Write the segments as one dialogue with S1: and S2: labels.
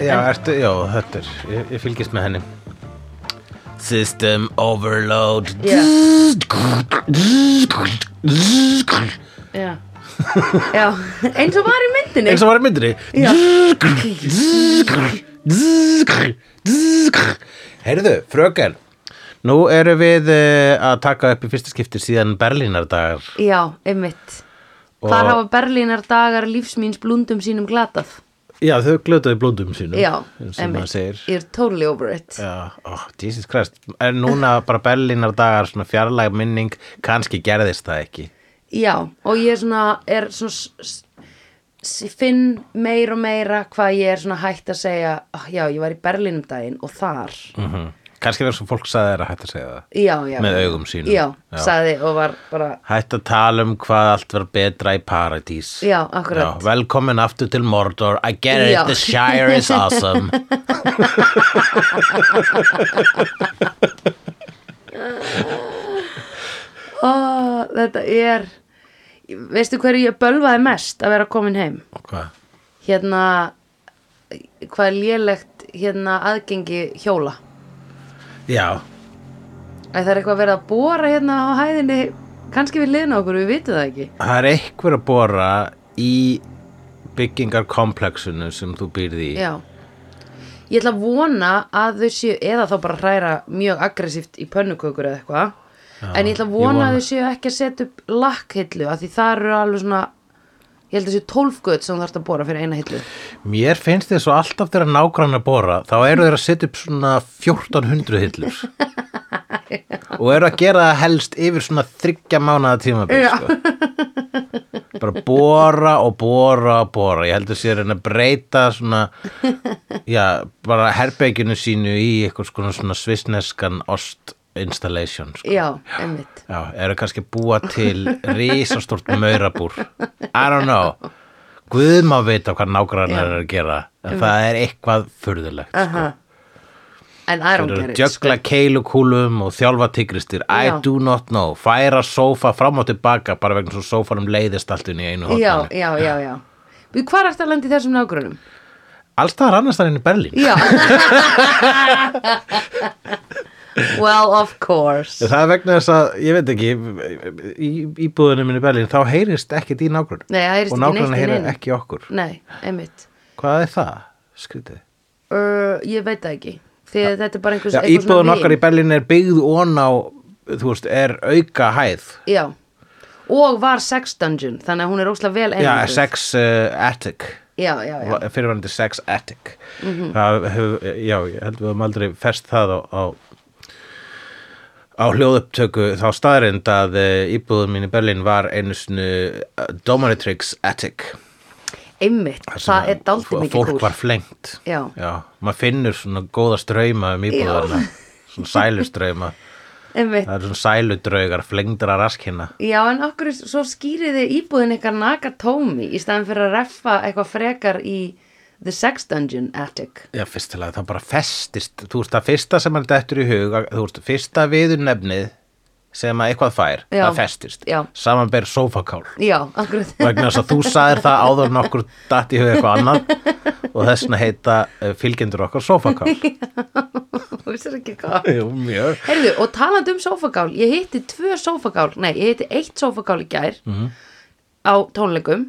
S1: þetta, já, þetta er, ég, ég fylgist með henni System overload
S2: Já. Já. Já, eins og var í myndinni
S1: Eins og var í myndri
S2: Já.
S1: Heyrðu, fröken Nú erum við eh, að taka upp í fyrsta skipti síðan Berlínardagar
S2: Já, einmitt Hvar hafa Berlínar dagar lífsmýns blundum sínum glatað
S1: Já, þau glötuðu blóndum sínum
S2: Já,
S1: Mm. eins og maður segir
S2: Ég er totally over it
S1: Já, ó, Jesus Christ En núna bara Berlínardagar, svona fjarlæg minning kannski gerðist það ekki
S2: Já, og ég er svona, er svona s- s- finn meira og meira hvað ég er svona hægt að segja oh, já, ég var í Berlínum daginn og þar
S1: mm -hmm. Kannski verður svo fólk sagði þér að hætta að segja það
S2: Já, já
S1: Með augum sínum.
S2: Já,
S1: Já.
S2: sagði og var bara
S1: Hætt að tala um hvað allt var betra í paradís
S2: Já, akkurat.
S1: Velkomin aftur til Mordor I get it,
S2: Já.
S1: the Shire is awesome
S2: oh, Þetta er Veistu hverju ég bölvaði mest að vera komin heim?
S1: Hvað?
S2: hérna hvað er lélegt hérna aðgengi hjóla
S1: Já,
S2: að það er eitthvað verið að bóra hérna á hæðinni kannski við liðna okkur, við vitum það ekki
S1: það er einhver að bora í byggingarkomplexinu sem þú býrði í
S2: já ég ætla að vona að þau séu eða þá bara hræra mjög aggressíft í pönnukökur eða eitthvað en ég ætla að
S1: ég
S2: vona að
S1: vona.
S2: þau séu ekki að setja upp lakkhillu af því það eru alveg svona ég held að séu tólfgöt sem þú þarfst að bóra fyrir eina hillu
S1: Mér finnst þið svo alltaf þeirra nágrann að bora þá eru þeir að setja upp svona 1400 hillur og eru að gera það helst yfir svona þryggja mánaða tímabil
S2: Já.
S1: sko. bara bora og bora og bora ég heldur sér en að breyta svona já, bara herbeikinu sínu í eitthvað skona svona svissneskan ost installation sko.
S2: já, einmitt
S1: já, eru kannski að búa til risastort maurabúr I don't know Guð má vita hvað nágrannar eru að gera en
S2: Um.
S1: það er eitthvað furðulegt
S2: Aha. en I
S1: Þeir
S2: don't
S1: sko. eru
S2: get it
S1: djögla keilukúlum og þjálfa tigristir I
S2: Já.
S1: do not know, færa sófa fram og tilbaka bara vegna svo sófanum leiðist allt inn í einu
S2: sko. já,
S1: hotnani
S2: já, já, já Við hvar ertu að lenda í þessum nágrunum?
S1: Alls staðar annars þar inn í Berlín
S2: Já Well, of course
S1: Það er vegna þess að, ég veit ekki í íbúðunum minni í Berlín þá heyrist ekkit í nágrunn
S2: Nei, það heyrist
S1: og
S2: ekki neitt
S1: nágrunn
S2: í
S1: heyrir
S2: neinum.
S1: ekki í okkur
S2: Nei, einmitt
S1: Hvað er það? Skrítið
S2: uh, Ég veit það ekki Þegar þetta er bara einhvers
S1: Já,
S2: einhver svona
S1: íbúðun okkar í
S2: vin.
S1: Berlín er byggð ón á, þú veist, er auka hæð
S2: Já Og var sex dungeon Þannig að hún er óslega vel
S1: Já,
S2: einhvers
S1: sex uh, attic
S2: Já, já, já Mhm.
S1: fyrirvænandi sex attic það hef, já, ég held við höfum aldrei fest það á, á á hljóðupptöku þá staðrind að eh, íbúðum mín í Berlín var einu snu dominatrix attic
S2: Einmitt,
S1: Þar sem
S2: það
S1: að
S2: er daldið
S1: fó-
S2: mikið
S1: fólk
S2: kúl
S1: var flengt
S2: Já.
S1: maður finnur svona góða ströyma um íbúðarna svona sæluströyma
S2: Einmitt
S1: það er svona sæludraugar, flengdara raskina
S2: Já, en okkur svo skýriði íbúðin eitthvað Nakatomi í staðan fyrir að reffa eitthvað frekar í The Sex Dungeon Attic.
S1: Já, fyrst til að það bara festist, þú veist, það fyrsta sem hann dettur í hug, þú veist, fyrsta viður nefnið sem að eitthvað fær,
S2: Já.
S1: það festist,
S2: Já.
S1: samanber sófakál.
S2: Já, akkurat.
S1: Vegna þess að þú sagðir það áður en okkur datt í hug eitthvað annað og þessna heita eh, fylgjendur okkar sófakál.
S2: Þú vissir ekki hvað.
S1: Jú, mjög.
S2: Heyrðu, og talandi um sófagál, ég hitti tvö sófagál, nei, ég hitti eitt sófagál í gær á tónleikum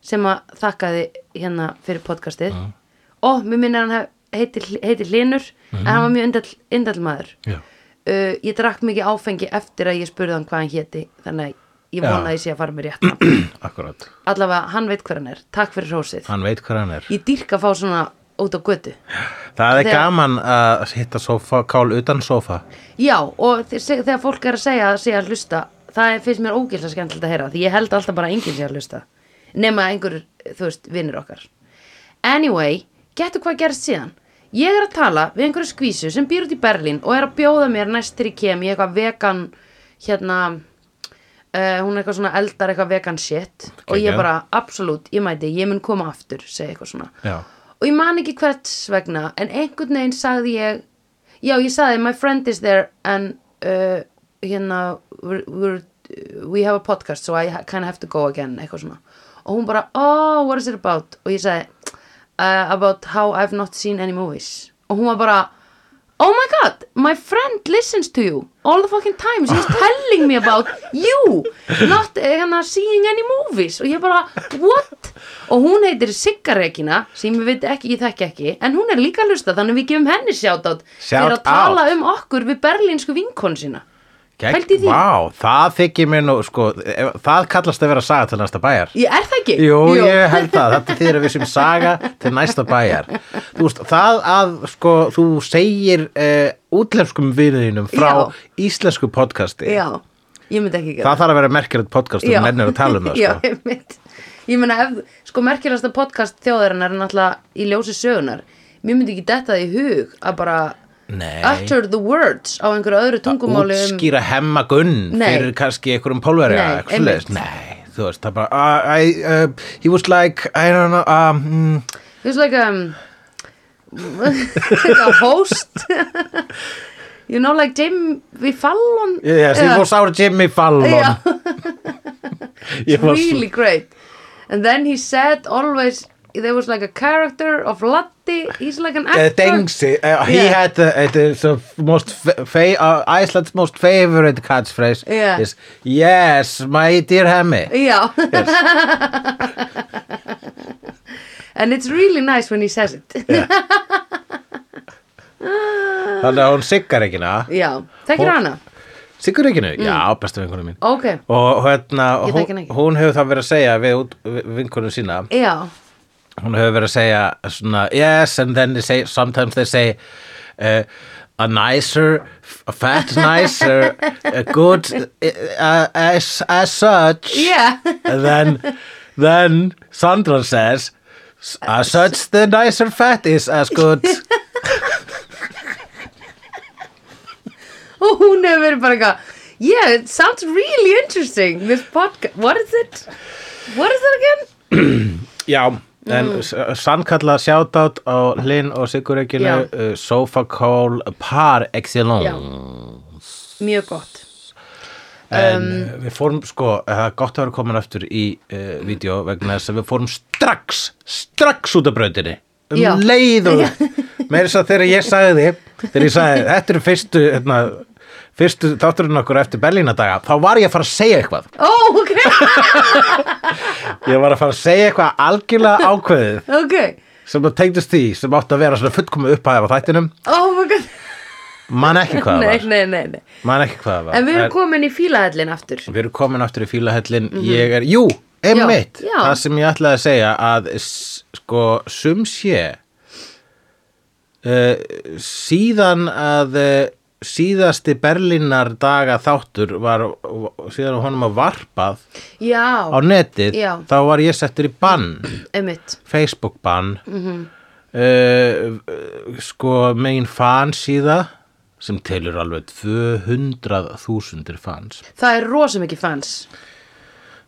S2: sem að þakkaði hérna fyrir podcastið og mér minnir hann hef- heiti, heiti Hlinur en hann var mjög indall, indall maður.
S1: Já.
S2: Uh, ég drakk mikið áfengi eftir að ég spurði hann hvað hann héti, þannig að ég
S1: Já.
S2: vona að ég sé að fara mér rétt. nafn.
S1: Akkurat.
S2: Allavega, hann veit hver hann er. Takk fyrir hrósið.
S1: Hann veit hvað hann er.
S2: Ég dýrka að fá svona út á götu.
S1: Það er
S2: Þegar-
S1: gaman að hitta sófakál utan sófa.
S2: Já, og þe- seg- þegar fólk er að segja að segja að hlusta, það er- finnst mér ógilsa skemmtilegt að heyra, því ég held alltaf bara að enginn sé að hlusta, nema einhver, þú veist, vinnur okkar. Anyway, getur hvað gerst síðan? Ég er að tala við einhverju skvísu sem býr út í Berlín og er að bjóða mér næst þegar ég kem í eitthvað vegan, hérna, uh, hún er eitthvað svona eldar eitthvað vegan shit og ég
S1: Geggjað.
S2: bara, absolutt, ég mæti, ég mun koma aftur, segi eitthvað svona
S1: Já.
S2: og ég man ekki hvers vegna en einhvern veginn sagði ég já ég sagði my friend is there and uh, hérna we're, we're, we have a podcast so I kind of have to go again eitthvað svona og hún bara oh what is it about og ég sagði uh, about how I've not seen any movies og hún var bara Oh my god, my friend listens to you all the fucking time, she's telling me about you, not eh, hérna, seeing any movies og ég bara, what? Og hún heitir Siggarekina, sem ég veit ekki, ég þekki ekki en hún er líka að hlusta, þannig við gefum henni shoutout fyrir
S1: Shout
S2: að tala
S1: out.
S2: um okkur við berlínsku vinkon sína Pældu í því.
S1: Vá, það þykir mér nú, sko, ef- það kallast að vera saga til næsta bæjar.
S2: Ég er það ekki?
S1: Jú, ég held það, þetta þýðir að við sem saga til næsta bæjar. Þú veist, það að, sko, þú segir uh, útlenskum vinninum frá
S2: Já.
S1: íslensku podcasti,
S2: Já, ég myndi ekki gera
S1: það þarf að vera merkjöld podcast og
S2: Já.
S1: mennir að tala um það,
S2: Já,
S1: sko.
S2: einmitt. ég meina ef, sko merkilegasta podcast þjóðarinnar er náttúrulega í ljósi sögunar mér myndi ekki detta það í hug að bara
S1: sko. Nei.
S2: utter the words á einhverju öðru tungumáli um-
S1: útskýra hemma gunn
S2: Nei.
S1: fyrir kannski einhverjum pólverja
S2: Nei,
S1: eitthvað svoleiðis.
S2: einmitt.
S1: Nei, þú veist, það bara uh, I, uh, he was like, I don't know um, mm,
S2: It was like um, like a host you know like Jim Fallon
S1: yes, he
S2: Yeah.
S1: was our Jimmy Fallon
S2: Yeah.
S1: Ég var svo-
S2: really great and then he said always there was like a character of Latti he's like an
S1: Uh,
S2: actor
S1: Dengsi, uh, he
S2: Yeah.
S1: had uh, it is the most fa- fa- uh, Iceland's most favorite catchphrase
S2: Yeah.
S1: is Yes, my dear Hemmi
S2: Já And it's really nice when he says it
S1: Þannig að hún siggar ekkina
S2: Já, þekkir
S1: Hún-
S2: hana?
S1: Siggur ekkinu? Já, bestu vinkunum mín
S2: Ok,
S1: Og hérna,
S2: Mm. Ég þekki hana
S1: hún,
S2: ekki.
S1: hún hefur það verið að segja við út- við vinkunum sína
S2: já
S1: hún hefur verið að segja svona, yes and then they say, sometimes they say uh, a nicer a fat nicer a good uh, as, as such
S2: Yeah.
S1: and then then Sandra says as such the nicer fat is as good
S2: Og hún hefur verið bara eitthvað Yeah, it sounds really interesting This podcast, what is it? What is it again?
S1: já En mm. sannkalla shoutout á Linn og Sigurekinu
S2: Já.
S1: uh, Sofakól par excellence
S2: Já. Mjög gott
S1: En við fórum, sko, það er gott að vera komin aftur í uh, vídeo vegna þess að við fórum strax, strax út af brautinni. Um
S2: Já.
S1: leið og meira þess að þegar ég sagði þið, þegar ég sagði þetta eru fyrstu, hérna, fyrstu þátturinn okkur eftir Berlínadaga, þá var ég að fara að segja eitthvað.
S2: Ó, ok,
S1: Ég var að fara að segja eitthvað algjörlega ákveðið
S2: ok
S1: sem það tengdist því sem átti að vera svona fullkomu upphæði af þættinum.
S2: Oh my god
S1: Man ekki hvað
S2: Nei,
S1: það var.
S2: nei, nei, nei
S1: Man ekki hvað það var.
S2: En við erum komin í fílahellin aftur
S1: Við erum komin aftur í fílahellin Ég er, jú, einmitt
S2: Mhm. Já, já.
S1: Það sem ég ætlaði að segja að s- sko, sum sé uh, síðan að uh, síðasti Berlínar daga þáttur var síðan honum að varpað á
S2: Já,
S1: netið
S2: Já.
S1: þá var ég settur í bann
S2: einmitt
S1: Facebook bann mm
S2: Mhm.
S1: sko megin fansíða sem telur alveg 200.000 fans
S2: Það er rosa mikið fans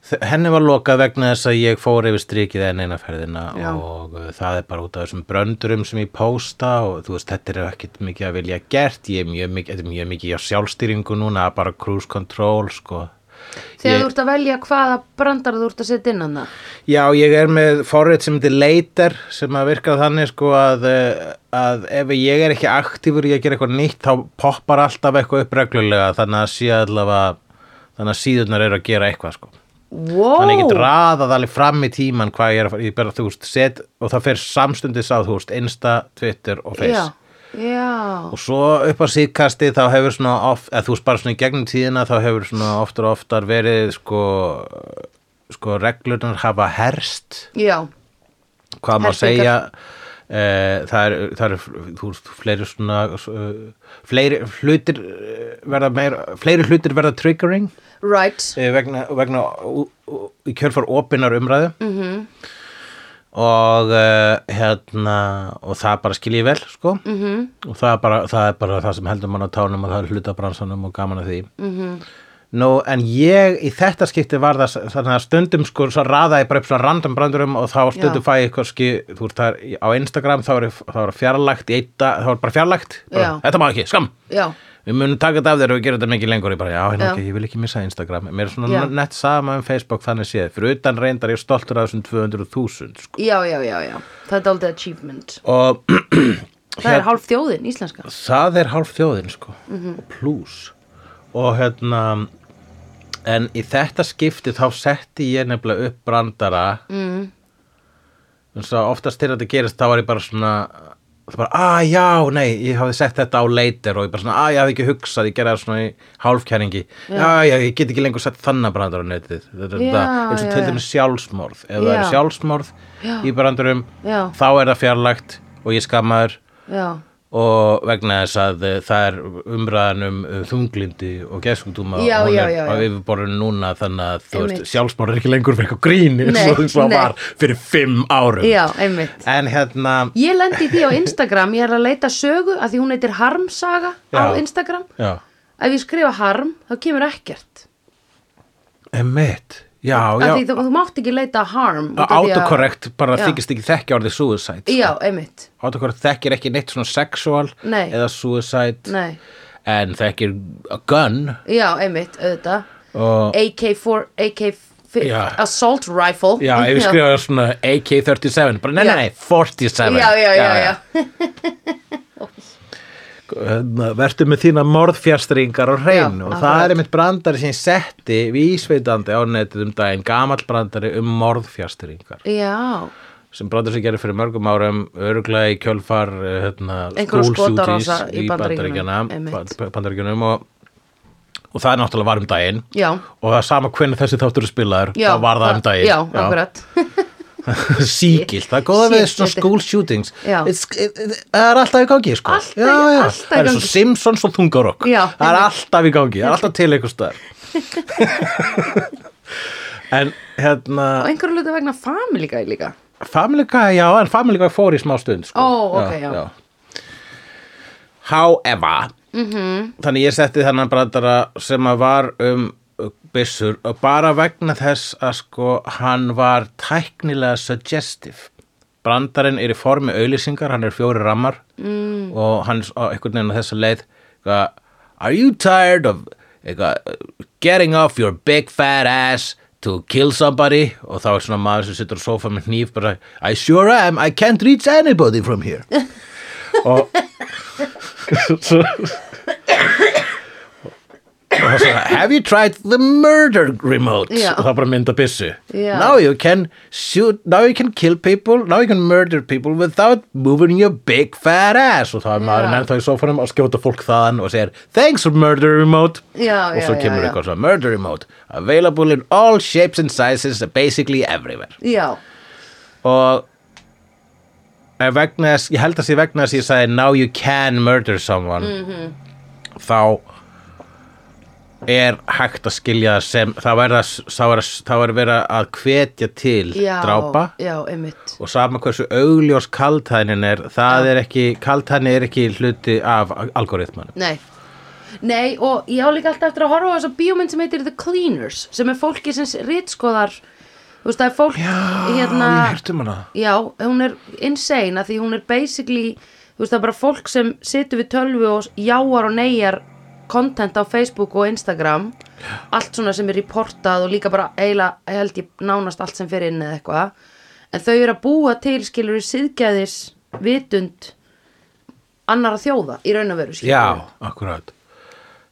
S1: Þe- henni var lokað vegna þess að ég fór yfir strikið enn eina ferðina
S2: Já.
S1: og uh, það er bara út af þessum bröndurum sem ég pósta og þú veist, þetta er ekkit mikið að vilja gert, ég er mjög mikið, þetta er mjög mikið á sjálfstýringu núna, bara cruise control, sko.
S2: Þegar
S1: Ég-
S2: þú ert að velja hvaða brandara þú ert að setja inn hann
S1: Já, ég er með forrið sem heitir Later sem að virka þannig sko að, eh, að ef ég er ekki aktífur í að gera eitthvað nýtt þá poppar alltaf eitthvað upp reglulega þannig að sé allavega þannig að síðurnar eru að gera eitthvað sko.
S2: wow.
S1: þannig að ég get raðað alveg fram í tíman hvað ég er að fara, ég bara þú veist set og það fer samstundis á þú veist Insta, Twitter og Face
S2: Já, já,
S1: og svo upp á síðkasti þá hefur svona oft, eða þú veist bara svona í gegnum tíðina þá hefur svona oftar og oftar verið sko, sko reglurnar hafa herst
S2: já,
S1: hvað maður
S2: Hertingar.
S1: segja Uh, það eru það er, þú veist, fleiri svona uh, fleiri hlutir eh, verða meira, fleiri hlutir verða triggering
S2: right,
S1: Eh, vegna, vegna ú- ú- í kjörfar opinar umræðu -hmm.
S2: mhm.
S1: og uh, hérna og það bara skil ég vel sko -hmm.
S2: Mhm.
S1: og það er, bara, það er bara það sem heldur mann á tánum og það er hlutabransanum og gaman að því
S2: Mhm.
S1: -hmm. Nú, en ég í þetta skipti var það s- þannig að stundum sko svo raða ég bara upp svona random brandurum og þá stundum
S2: Já.
S1: fæ ég eitthvað ski, þú veist það er í- á Instagram þá er, þá er fjarlægt í eitt dag, þá er bara fjarlægt bara,
S2: Já.
S1: þetta má ekki, skam
S2: já,
S1: við munum taka þetta af þér og við gerum þetta mikið lengur ég bara, já, hérna,
S2: Já.
S1: ok, ég vil ekki missa Instagram mér er svona
S2: Já.
S1: nett sama um Facebook þannig séð fyrir utan reyndar ég er stoltur af þessum 200.000 sko.
S2: já, já, já, já, það er daldið achievement
S1: og
S2: það
S1: Hérna-
S2: er hálf þjóðin, íslenska
S1: það er hálf þjóðin sko og plus og hérna en í þetta skipti þá setti ég nefnilega upp brandara mm. þannig að oftast til þetta gerist þá var ég bara svona það bara, að já, nei, ég hafði sett þetta á later og ég bara svona, að ég hafði ekki hugsað ég gerði það svona í hálfkæringi "Ah, já, já, ég get ekki lengur sett þannig brandara á netið þetta er
S2: Já,
S1: þetta, eins og
S2: já,
S1: til
S2: já.
S1: dæmis sjálfsmorð ef það er
S2: Já.
S1: sjálfsmorð í brandarum
S2: Já.
S1: þá er það fjarlægt og ég skammaður
S2: já,
S1: og vegna þess að eh, það er umræðan um eh, þunglindi og geðsjúkdóma
S2: Já,
S1: hún
S2: já,
S1: er
S2: já,
S1: á
S2: já.
S1: yfirborðinu núna þannig að þú veist,
S2: Einmitt.
S1: sjálfsmór er ekki lengur fyrir eitthvað grín eins og
S2: Nei,
S1: eins og það
S2: nei.
S1: var fyrir fimm árum
S2: já, einmitt
S1: en hérna
S2: ég lendi í því á Instagram, ég er að leita sögu að því hún heitir harmsaga á
S1: Já.
S2: Instagram
S1: já,
S2: ef ég skrifa harm, þá kemur ekkert
S1: emitt, já,
S2: að því
S1: já
S2: þú, þú mátt ekki leita harm út af því að-
S1: autocorrect bara
S2: Já.
S1: þykist ekki þekkja orðið suicide
S2: já, einmitt,
S1: autocorrect þekkir ekki neitt svona sexual
S2: Nei.
S1: eða suicide
S2: nei
S1: en þekkir a gun
S2: já, einmitt, auðvitað E-
S1: og
S2: AK-4, AK-5
S1: Já.
S2: assault rifle
S1: Já, ef ég skrifa svona AK-37 bara, nei,
S2: Já.
S1: nei, nei, 47
S2: já, já, já, já.
S1: Hérna, vertu með þína morðfjastringar og hrein
S2: Já,
S1: og það
S2: akkurat.
S1: er einmitt brandari sem ég setti vísveitandi á netið um daginn gamall brandari um morðfjastringar
S2: Já,
S1: sem brandari sem gerir fyrir mörgum árum öruglega í kjölfar eh, hérna,
S2: Einhverra
S1: school
S2: skotárása
S1: shootings
S2: í
S1: í
S2: Bandaríkjunum, einmitt.
S1: Bandaríkjunum, bandaríkjunum og, og það er náttúrulega var um daginn
S2: Já.
S1: og það er sama hvernig þessi þáttur er spilaður
S2: já
S1: það var það um daginn
S2: Já, akkurat
S1: síkilt, það er góða við
S2: Sígilt,
S1: svona
S2: þetta-
S1: school shootings
S2: Já.
S1: It's, it, it, það er alltaf í gangi sko.
S2: Alltaf í-
S1: já, já.
S2: alltaf í
S1: það er
S2: gangi.
S1: svo Simpsons og þungarokk
S2: Já,
S1: það er
S2: einmitt.
S1: alltaf í gangi, það er alltaf til einhvers staðar en hérna
S2: Og einhverju hluta vegna family guy líka
S1: Family Guy, já, en Family Guy fór í smá stund sko.
S2: Ó, ok, já.
S1: However -hmm. Þannig ég setti þennan brandara sem að var um uh, byssur og bara vegna þess að sko hann var tæknilega suggestive brandarinn er í formi auðlýsingar, hann er fjóri rammar mm. og hann er á einhvern veginn á þessa leið eitthvað, Are you tired of eitthvað, getting off your big fat ass to kill somebody og þá er svona maður sem sittur á sofa með hníf bara, I sure am, I can't reach anybody from here og svo og svo, have you tried the murder remote
S2: Já.
S1: og það bara mynda byssu
S2: Já.
S1: now you can shoot, now you can kill people now you can murder people without moving your big fat ass og þá er maður
S2: Já.
S1: ennþá í sofanum að skjóta fólk þaðan og segir thanks for murder remote
S2: Já,
S1: og
S2: já,
S1: svo
S2: já,
S1: kemur
S2: já.
S1: eitthvað svo murder remote available in all shapes and sizes basically everywhere
S2: Já,
S1: og en vegna þess, ég held að sé vegna þess ég sagði now you can murder someone
S2: Mhm.
S1: þá er hægt að skilja það sem þá er, það, þá er, þá er verið að hvetja til
S2: já
S1: drápa
S2: Já, einmitt
S1: og sama hversu augljós kaltænin er það er ekki, kaltæni er ekki hluti af algoritmanum
S2: Nei Nei, og ég á líka alltaf eftir að horfa á þess að bíómynd sem heitir The Cleaners sem er fólki sem rítskoðar Þú veist, það er fólk hérna,
S1: hértum hana
S2: Já, hún er insane að því hún er basically, þú veist það er bara fólk sem situr við tölvu og jáar og neyjar content á Facebook og Instagram allt svona sem er reportað og líka bara eiginlega, ég held ég nánast allt sem fer inn eða eitthvað en þau eru að búa til skilur í síðgæðis vitund annara þjóða í raun og veru skilurðu.
S1: já, akkurat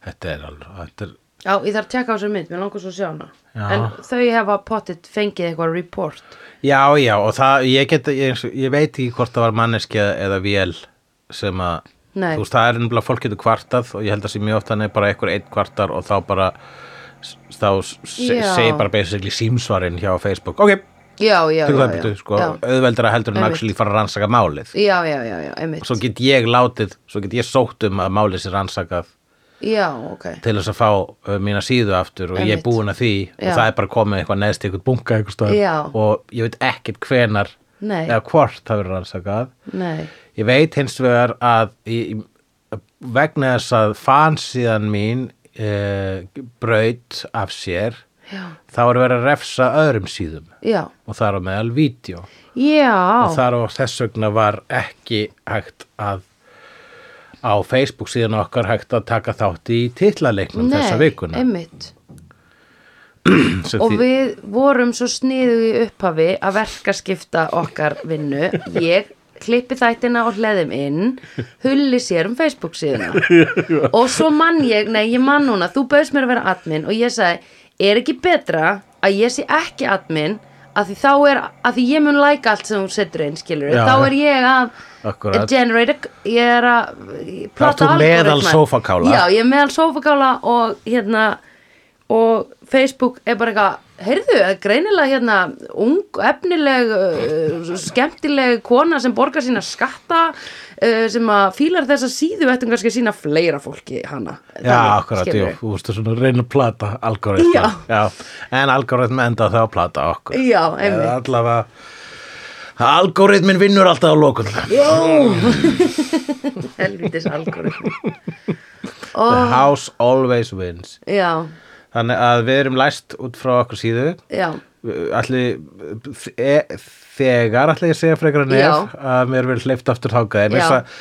S1: þetta er alveg þetta er,
S2: Já, ég þarf að tjekka á þessu mynd, mér langar svo að sjá hana
S1: Já.
S2: en þau hefa pottit fengið eitthvað report
S1: Já, já, og það, ég, get, ég, ég veit ekki hvort það var manneskja eða vél sem að,
S2: Nei.
S1: þú veist, það er ennbla fólk getur kvartað og ég held að sé mjög oft þannig bara einhver einn kvartar og þá bara s- þá se,
S2: Já.
S1: segir bara basically símsvarinn hjá Facebook, ok,
S2: Já, já, já,
S1: tökum það
S2: já,
S1: byrtu, sko,
S2: já.
S1: auðveldara heldur en
S2: Einmitt.
S1: actually fara að rannsaka málið.
S2: Já, já, já, já, einmitt
S1: Svo get ég látið, svo get ég sótt um að málið sér rannsakað
S2: Já, ok
S1: til þess að fá uh, mína síðu aftur og ég er
S2: Einmitt.
S1: búin að því og
S2: Já.
S1: það er bara komið eitthvað neðst í eitthvað bunga eitthvað
S2: Já.
S1: stöð og ég veit ekkert hvenar
S2: Nei.
S1: eða hvort það verður rannsakað
S2: Nei,
S1: ég veit hins vegar að í, í- vegna þess að fansíðan mín e, braut af sér
S2: já,
S1: þá er verið að refsa öðrum síðum
S2: já,
S1: og það er á meðal vídeo
S2: já,
S1: og þar á þess vegna var ekki hægt að á Facebook síðan okkar hægt að taka þátt í titlaleiknum um þessa vikuna
S2: einmitt
S1: sem
S2: og
S1: því-
S2: við vorum svo sniðu í upphafi að verka skipta okkar vinnu ég klippi þættina og hleðum inn hulli sér um Facebook síðuna og svo mann ég, nei ég mann núna þú bauðst mér að vera admin og ég sagði er ekki betra að ég sé ekki admin að því þá er að því ég mun læka allt sem þú setur inn skilur
S1: Já,
S2: þá
S1: já.
S2: er ég að
S1: Akkúrat.
S2: generate a- ég er að
S1: Þá ert þú
S2: plata
S1: meðal
S2: algoritma.
S1: sófakála.
S2: já, ég er meðal sofakála og hérna og Facebook er bara eitthvað heyrðu, það er greinilega hérna ung, efnileg uh, skemmtileg kona sem borgar sína skatta uh, sem að fílar þessa síðu eftir kannski að sína fleira fólki hana
S1: Já, akkurat, jú, þú veist svona að reyna að plata algoritma
S2: Já.
S1: En algoritma enda þá að plata okkur
S2: Já, einmitt.
S1: Eða allavega Algoritmin vinnur alltaf á lokun
S2: Ah. Jó Helvitis algoritmi
S1: The
S2: og
S1: house always wins
S2: já,
S1: Þannig að við erum læst út frá okkur síðu
S2: já
S1: Ætli, e, þegar ætli ég að segja frekar en
S2: Já.
S1: ef að mér verið hleyft aftur þákað en
S2: Já.
S1: þess að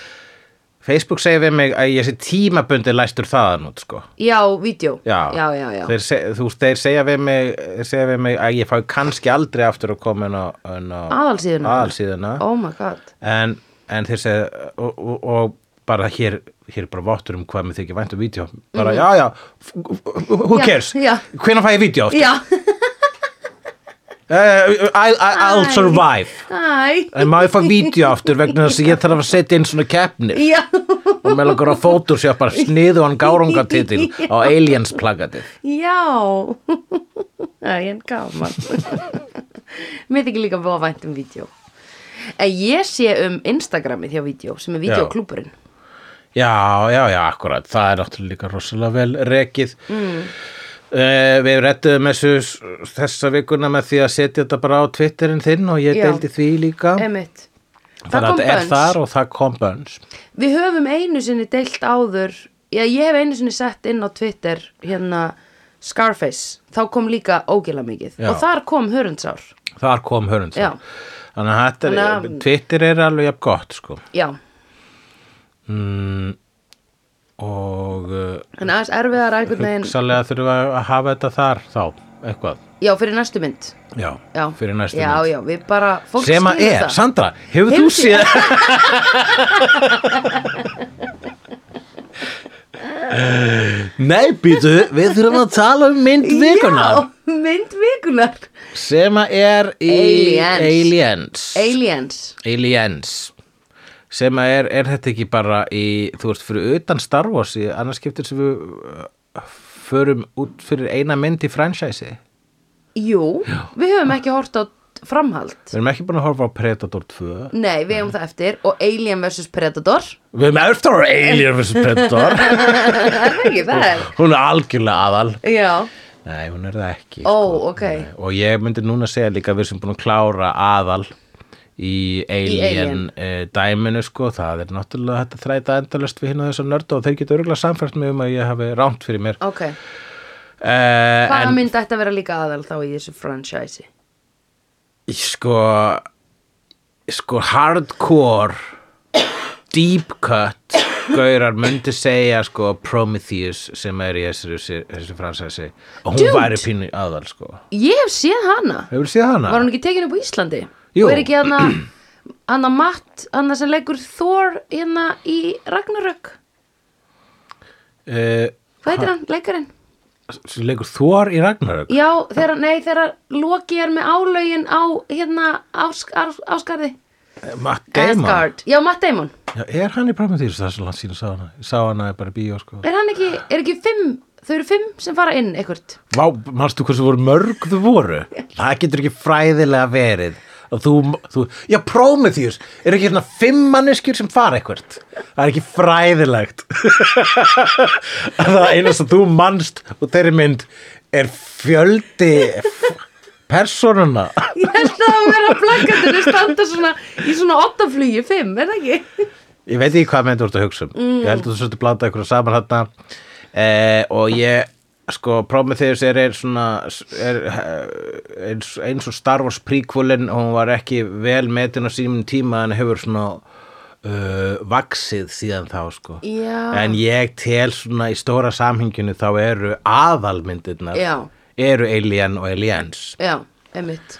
S1: Facebook segir við mig að ég sé tímabundi læstur þaðan út sko
S2: já, vídeo
S1: Já,
S2: já, já, já.
S1: Þeir, se, þú, veist, þeir segja, við mig, segja við mig að ég fá kannski aldrei aftur að koma inn á, inn á
S2: aðalsíðuna
S1: aðalsíðuna.
S2: oh my god
S1: en, en þeir segja og, og, og bara hér, hér er bara vottur um hvað mér þykir vænt um vídeo bara já já, f- who
S2: Mhm. Já,
S1: cares
S2: já.
S1: hvenær fæ ég vídeo aftur
S2: já,
S1: uh, I, I, I'll
S2: Æ.
S1: survive
S2: hæ
S1: en má ég fá vídeo aftur vegna þess að ég þarf að setja inn svona keppnir
S2: já
S1: og með langar að fótursjöpa sniðuan gárangatitil á Aliens plaggatið
S2: Já, það er gaman. Mér þykir líka búið að vænt um vídeo. En ég sé um Instagramið hjá vídeo, sem er videoklúburinn.
S1: Já, já, já, akkurat, það er náttúrulega líka rosalega vel rekið. Mm. við rettum þessu s- þessa vikuna með því að setja þetta bara á Twitterinn þinn og ég
S2: Já.
S1: deildi því líka.
S2: Emitt.
S1: Þannig
S2: Það
S1: að
S2: kom
S1: þetta er þar
S2: bönns.
S1: og það kom bönns.
S2: Við höfum einu sinni deilt áður, já ég hef einu sinni sett inn á Twitter hérna Scarface, þá kom líka ógila mikið.
S1: Já.
S2: Og þar kom hörundsár.
S1: Þar kom hörund
S2: Já.
S1: Þannig að þetta er,
S2: Þannig að-
S1: Twitter er alveg jafn gott, sko.
S2: Já,
S1: Mm, og uh,
S2: en aðeins erfiðar einhvern veginn,
S1: hugsalega þurfum við að hafa þetta þar þá, eitthvað.
S2: já fyrir næstu mynd.
S1: Já,
S2: Já.
S1: fyrir næstu
S2: já, Já,
S1: mynd.
S2: já, við bara, fólk
S1: Sem að
S2: skilur
S1: er,
S2: það.
S1: Sandra, hefur þú
S2: Hefur
S1: séð Nei, býtu, við þurfum að tala um mynd vikunar
S2: Já, mynd vikunar
S1: sem að er í
S2: Aliens.
S1: Aliens,
S2: Aliens
S1: Aliens. sem að er, er þetta ekki bara í, þú veist, fyrir utan Star Wars í annars skiptir sem við uh, förum út fyrir eina mynd í franchise
S2: Jú, við höfum ekki hort á framhald
S1: Við erum ekki búin að horfa á Predator 2
S2: Nei, við hefum það eftir og Alien vs Predator
S1: Við erum eftir á Alien vs. Predator
S2: Það er ekki það er
S1: Hún er algjörlega aðal
S2: Já,
S1: Nei, hún er það ekki sko.
S2: Ó, ok.
S1: Nei, Og ég myndi núna segja líka að við sem búin að klára aðal í Alien,
S2: Alien.
S1: Alien. dæminu sko, það er náttúrulega þetta þræta endalust við hinn og þessar nördu og þeir geta örgulega samfært mig um að ég hafi rámt fyrir mér
S2: ok
S1: uh,
S2: Hvaða
S1: en
S2: mynd ætti að vera líka aðal þá í þessu franchise
S1: sko sko hardcore deep cut gaurar myndi segja sko Prometheus sem er í þessari, þessari fransæsi og hún
S2: Dude.
S1: væri pínu aðal sko
S2: Ég hef séð hana
S1: Hefur séð hana?
S2: Var hún ekki tekin upp á Íslandi?
S1: Jú.
S2: Og er ekki hana Anna Matt, hana sem leikur Thor hérna í Ragnarök
S1: Eh,
S2: Hvað heitir hann, leikarinn?
S1: sem leikur Þór í Ragnarök
S2: Já, þeirra, nei, þeirra Loki er með álögin á hérna ásk, ás, áskarði
S1: Eh, Matt Damon
S2: Asgard. Já, Matt Damon
S1: Já, er hann í Prometheus þar sem hann sína sá hana ég sá hana bara í bíó sko
S2: Er hann ekki, er ekki fimm, þau eru fimm sem fara inn einhvert
S1: Vá, manstu hversu voru mörg þau voru það getur ekki fræðilega verið og þú, þú, já Prometheus er ekki svona fimm manneskjur sem fara eitthvert það er ekki fræðilegt að það eina sem þú manst og þeirri mynd er fjöldi f- persónuna
S2: Ég held að það vera plakkatinu standa svona í svona ottaflugi, fimm, er það ekki?
S1: Ég veit ekki hvað myndir þú ert að hugsa um
S2: Mm.
S1: Ég held að þú svolítið blanda ykkur saman þarna eh, Og ég Sko, Prometheus er, er svona er, eh, eins, eins og Star Wars prequelin og hún var ekki vel metin á sínum tíma en hefur svona uh, vaksið síðan þá sko
S2: Já.
S1: en ég tel svona í stóra samhenginu þá eru aðalmyndirnar
S2: Já.
S1: eru Alien og Aliens
S2: já, einmitt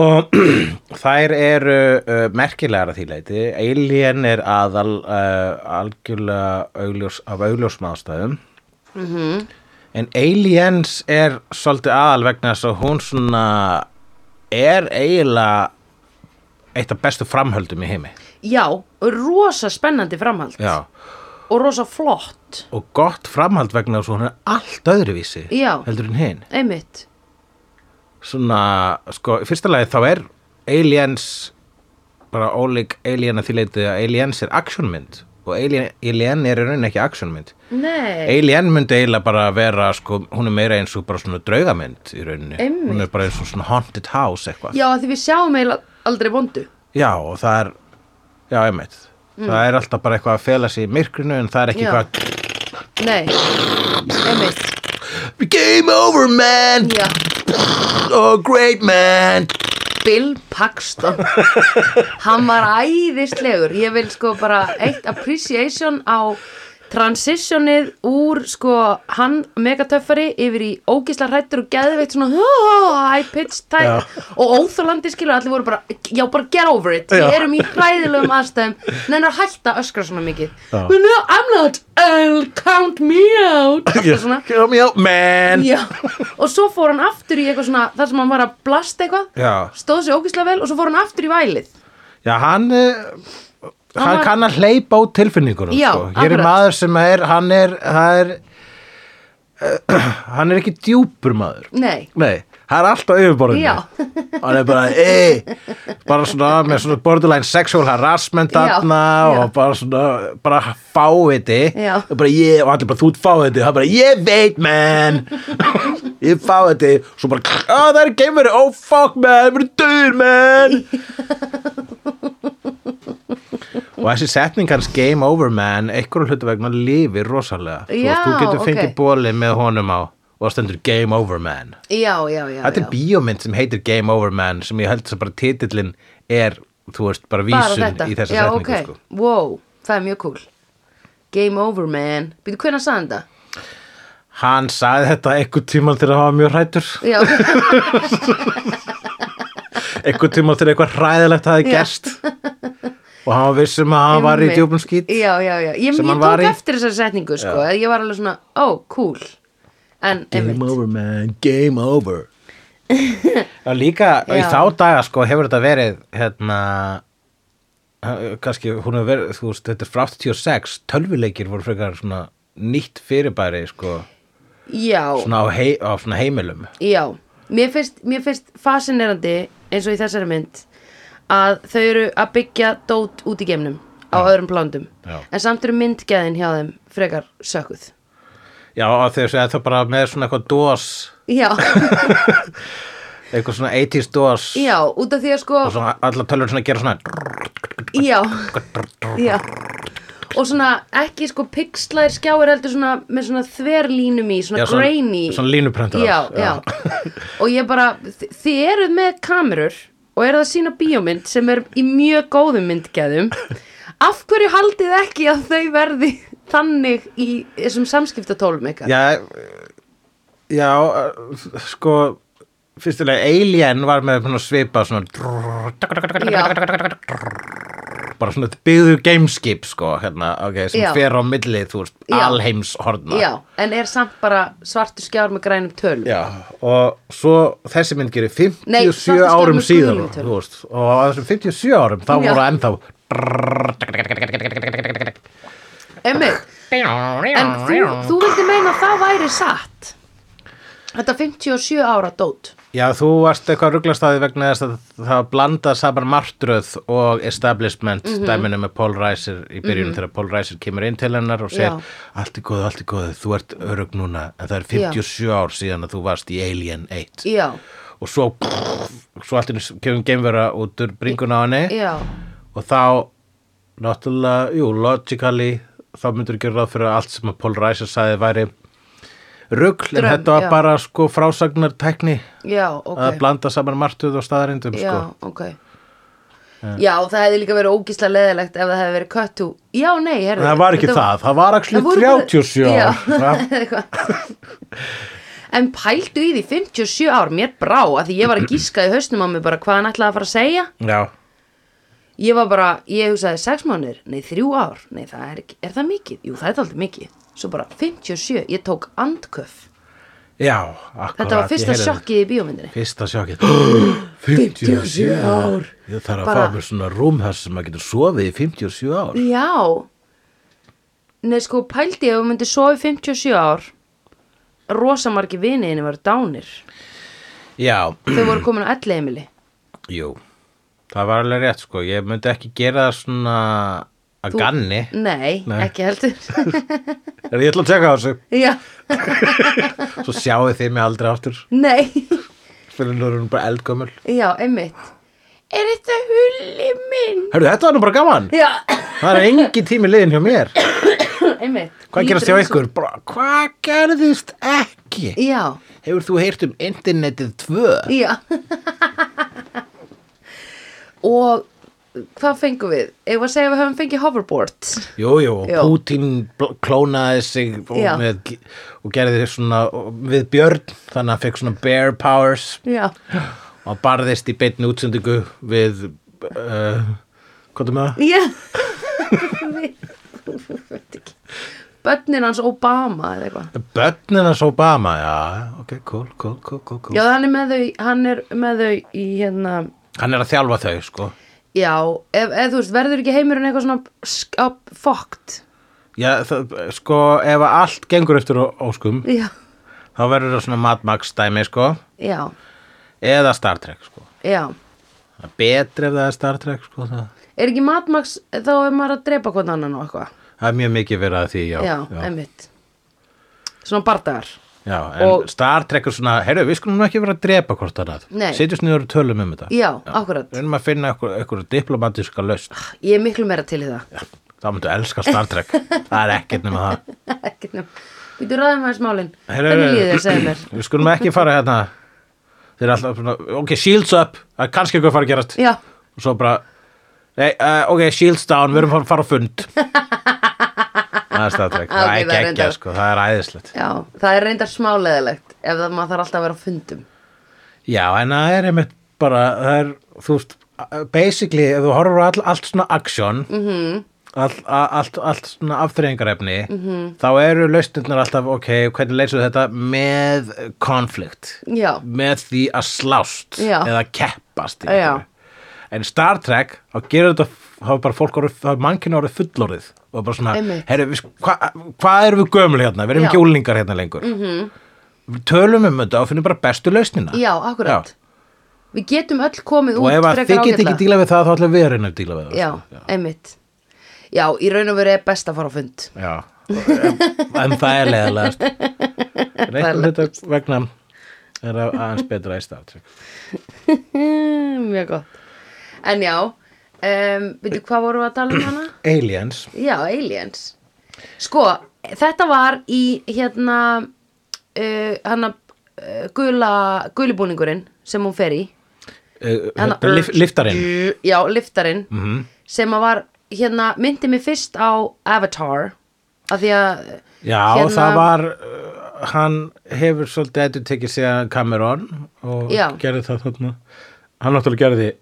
S1: og þær eru uh, merkilegar að því leiti Alien er aðal uh, algjörlega augljós, af augljósum ástæðum en Aliens er svolítið aðal vegna þess að hún svona er eiginlega eitt af bestu framhöldum í heimi
S2: Já, og rosa spennandi framhald
S1: Já.
S2: og rosa flott
S1: og gott framhald vegna þess að hún er allt öðruvísi
S2: Já.
S1: heldur en hinn
S2: einmitt,
S1: svona, sko, í fyrsta lagi þá er Aliens bara ólík Alien að því leiti að Aliens er actionmynd og Alien, Alien er í rauninni ekki actionmynd
S2: nei
S1: Alien myndi eiginlega bara vera, sko, hún er meira eins og bara svona draugamynd í rauninni
S2: Einmitt.
S1: hún er bara eins og svona haunted house eitthvað
S2: Já, af því við sjáum eiginlega aldrei vondu
S1: Já, og það er, já, einmitt það er alltaf bara eitthvað að fela sig í myrkrinu en það er ekki
S2: Mm. Já.
S1: eitthvað
S2: Nei, einmitt
S1: Game over man,
S2: Já,
S1: oh great man
S2: Bill Paxton Hann var æðislegur Ég vil sko bara eitt appreciation á transitionið úr sko hann megatöffari yfir í ógisla hrættur og geðveitt svona "Oh, high pitch
S1: Já.
S2: type og óþólandi skilur allir voru bara, já bara get over it
S1: Já.
S2: við erum í hræðilegum aðstæðum neina að hætta að öskra svona mikið
S1: Já.
S2: well no I'm not, I'll count me out alltaf svona
S1: Come out man
S2: já. og svo fór hann aftur í eitthvað svona þar sem hann var að blasta eitthvað
S1: Já.
S2: stóð sér ógislega vel og svo fór hann aftur í vælið
S1: Já, hann, hann, hann
S2: var-
S1: kann að hleypa út tilfinningunum
S2: Já,
S1: sko. Hér er
S2: akkurat.
S1: maður sem er, hann er, það er, hann er ekki djúpur maður.
S2: nei,
S1: Nei, það er alltaf yfirborðinu.
S2: Já.
S1: Hann er bara, ei, bara svona með svona borderline sexual harassment
S2: Já,
S1: þarna
S2: já.
S1: og bara svona, bara fáviti.
S2: Já.
S1: Og bara ég, og allir bara, þú ert fáviti. Það er bara, ég veit, man. ég er fáviti. Svo bara, oh, það er geimur, oh, fuck, man, það er döður, man. og þessi setning hans game over man einhverju hlutu vegna lifir rosalega þú,
S2: Já,
S1: veist, þú getur
S2: ok.
S1: fengið bóli með honum á og það stendur game over man
S2: já, já, já,
S1: þetta
S2: já.
S1: er bíómynd sem heitir game over man sem ég held að bara titillin er þú veist bara vísun í þessa
S2: já,
S1: setningu
S2: ok,
S1: sko.
S2: wow, það er mjög cool game over man, býtu hvernig að sagði þetta?
S1: hann sagði þetta einhver tíma þegar hann var mjög hrættur
S2: já,
S1: einhver tíma þegar eitthvað hræðilegt hafi gerst og hann var vissum að hann var í
S2: einmitt.
S1: djúpum skýt
S2: já, já, já, ég, ég
S1: Sem hann
S2: tók
S1: var í.
S2: eftir þessari setningu sko, ég var alveg svona, ó, cool en,
S1: Game
S2: einmitt,
S1: over man, game over Já líka í
S2: Já.
S1: þá daga sko hefur þetta verið hérna eh, kannski hún hefur verið þú veist þetta er frá 86 tölvuleikir voru frekar svona nýtt fyrirbæri sko
S2: já
S1: svona á, hei, á svona heimilum
S2: Já, mér finnst, mér finnst fascinerandi eins og í þessari mynd að þau eru að byggja dót út í geimnum á öðrum plándum
S1: Já.
S2: en samt eru myndgeðin hjá þeim frekar sökuð
S1: Já og þau segja það bara með svona eitthvað dós
S2: Já,
S1: eitthvað svona 80s dós
S2: já, út af því að sko
S1: og svona allar tölvur svona gera svona
S2: Já, já og svona ekki sko pixlaðir skjáir heldur svona með svona þverlínum í, svona
S1: Já, svona-
S2: grainy
S1: svona línuprentar.
S2: já, já. og ég bara, þi- þið eruð með kamerur og eruð að sína bíómynd sem er í mjög góðum myndgæðum af hverju haldið þið ekki að þau verði þannig í þessum samskiptatólum eitthvað
S1: Já, já, eh, sko, fyrstulega Alien var með svona svipa svona, drrrr, bara svona byggðu gameskip, sko, hérna, ok, sem
S2: Já.
S1: fer á milli, þú veist,
S2: Já.
S1: alheimshorna.
S2: já, en er samt bara svartu skjár með grænum tölum
S1: Já, og svo þessi mynd gerir 57
S2: Nei, svartu skjár
S1: árum
S2: með
S1: síðan,
S2: gulum tölum.
S1: þú veist, og á þessum 57 árum, þá
S2: Já.
S1: voru ennþá,
S2: Einmitt. en þú, þú vildi meina að það væri satt þetta 57 ára dót
S1: já, þú varst eitthvað rugglastaði vegna þess að það blandað saman martröð og establishment
S2: Mhm.
S1: dæminu með Paul Reiser í byrjunum þegar Paul Reiser kemur inn til hennar og segir,
S2: Já.
S1: allt í góðu, allt í góðu, þú ert örug núna, en það er 57 ár síðan að þú varst í Alien 1
S2: já,
S1: og svo, svo allt í einu kemur geimvera út úr bringuna á henni
S2: já,
S1: og þá náttúrulega, jú, logically þá myndur ekki ráð fyrir að allt sem að Paul Reiser sagði væri rugl en
S2: Dröm,
S1: þetta var
S2: já.
S1: bara sko frásagnar tækni
S2: já, ok
S1: sko. að blanda saman martuð og staðarindum
S2: já,
S1: sko.
S2: ok Já, það hefði líka verið ógísla leðilegt ef það hefði verið cut to Já, nei, herðu
S1: það var ekki
S2: þetta
S1: það, það var
S2: Það
S1: actually
S2: voru bara-
S1: 37
S2: Já.
S1: ár það,
S2: Eitthvað. En pældu í því 57 ár, mér brá að því ég var að gíska í hausnum á mig bara hvað hann ætlaði að fara að segja
S1: já,
S2: Ég var bara, ég hugsaði 6 mánuðir, nei 3 ár, nei það er ekki, er það mikið? Jú það er aldrei mikið Svo bara 57, ég tók andköf
S1: já akkurat,
S2: Þetta var
S1: ég
S2: fyrsta
S1: heyrði-
S2: sjokkið í bíómyndinni
S1: fyrsta sjokkið
S2: 57 ár.
S1: ég þarf að
S2: Bara-
S1: fá mér svona rúm þar sem maður getur sofið í 57 ár
S2: Já Nei sko pældi ég að við myndi sofi 57 ár Rosamarki viniðinni var dánir
S1: já,
S2: Þau voru komin á elli heimili
S1: Jú, það var alveg rétt sko Ég myndi ekki gera það svona að ganni
S2: Nei,
S1: Nei.
S2: ekki heldur
S1: Er ég ætla að teka þessu
S2: Já,
S1: Svo sjáu þið mig aldrei aftur
S2: nei
S1: Fyrir nú erum bara eldgömmul
S2: Já, einmitt Er þetta hulli minn?
S1: Hörru, þetta var nú bara gaman
S2: Já,
S1: Það er engin tími liðin hjá mér
S2: einmitt
S1: Hvað gerast hjá ykkur? Bara, hvað gerðist ekki?
S2: Já,
S1: Hefur þú heyrt um internetið 2?
S2: já Og hvað fengum við? Ég var að segja að við höfum fengið hoverboard
S1: Jú, jú, og
S2: Jú.
S1: Putin bl- klónaði sig og,
S2: Já.
S1: með, og gerði svona við Björn, þannig að hann fekk svona bear powers
S2: Já,
S1: og barðist í beinni útsendingu við uh, hvað er með það?
S2: já Við- Þú veit ekki Bönnin hans Obama eða eitthvað
S1: Bönnina svo Obama, já, ok, cool, cool, cool, cool, cool.
S2: Já, hann er með þau, hann er með þau í hérna
S1: Hann er að þjálfa þau, sko.
S2: Já, ef, ef þú veist, verður ekki heimurinn eitthvað svona sk- á- fucked
S1: Já, það, sko, ef að allt gengur eftir ó- óskum,
S2: Já,
S1: þá verður það svona Mad Max dæmi, sko,
S2: já,
S1: eða Star Trek, sko.
S2: já
S1: Það er betri ef það er Star Trek, sko, það,
S2: Er ekki matmaks, þá er maður að drepa hvort annan og eitthvað
S1: það er mjög mikið verið að því, já.
S2: Já,
S1: já,
S2: einmitt Svona bardagar
S1: já en
S2: og-
S1: Star Trek er svona, heyrðu, við skulum nú ekki vera að drepa hvort annað.
S2: Nei.
S1: Sitjum sniður og tölum um þetta.
S2: Já, akkurat.
S1: Við erum að finna eitthvað, eitthvað diplomatiska löst.
S2: Ég er miklu meira til í það
S1: Það myndu elska Star Trek. það er ekkert nema það.
S2: Ekki nefn Býtu ræðum aðeins málin
S1: Heyrðu,
S2: Hvernig líður þér, segðu mér
S1: Við skulum ekki fara hérna Þeir eru alltaf svona, ok, shields up Það er kannski eitthvað að fara að gerast
S2: Já,
S1: Og svo bara, nei, uh, ok, shields down Við erum að fara að fund Það er staðtrek,
S2: Ok,
S1: það er
S2: það er
S1: ekki ekki
S2: reyndar.
S1: sko, Það er æðislegt
S2: já, það er reyndar smáleðilegt Ef það maður þarf alltaf að vera á fundum
S1: Já, en það er einmitt bara Það er, þú veist, basically Ef þú horfur all, allt svona action mm
S2: Mhm.
S1: -hmm. Allt, a- allt, allt svona afþreyingarefni
S2: Mhm.
S1: -hmm. þá eru lausnirnar alltaf ok, hvernig leysum við þetta með konflikt
S2: Já,
S1: með því að slást
S2: Já.
S1: eða keppast í
S2: Já.
S1: einhverju. en Star Trek þá gerir þetta, þá er bara fólk orðið þá er mannkinn orðið fullorðið og bara svona,
S2: Einmitt.
S1: herri, við- hvað hva erum við gömul hérna, við
S2: Já.
S1: erum
S2: Mhm.
S1: ekki úlingar hérna lengur mm -hmm. við tölum um þetta og finnum bara bestu lausnina
S2: já, akkurat Við getum öll komið
S1: og
S2: út
S1: ef að
S2: frekar
S1: þið get ekki
S2: ágætlega.
S1: díla við það þá ætlum við að reyna að díla við það
S2: Já,
S1: sko.
S2: einmitt Já, í raun og veru er best að fara á fund
S1: Já. En, en það er leðalegast en eitthvað þetta vegna er að- aðeins betra í sko. Star Trek
S2: Mm, Mjög gott En já, um, veitu hvað vorum við að tala um hana?
S1: Aliens
S2: Já, Aliens Sko, þetta var í hérna uh, hana uh, gula, gulibúningurinn sem hún fer í
S1: uh,
S2: Hana-
S1: lif, liftarinn
S2: Hérna Já, liftarinn
S1: Mhm.
S2: sem að var, hérna, myndi mig fyrst á Avatar af því að
S1: Já,
S2: Hérna-
S1: það var, uh, hann hefur svolítið eitthvað tekið sig að Cameron og
S2: Já.
S1: gerði það þarna. Hann náttúrulega gerði,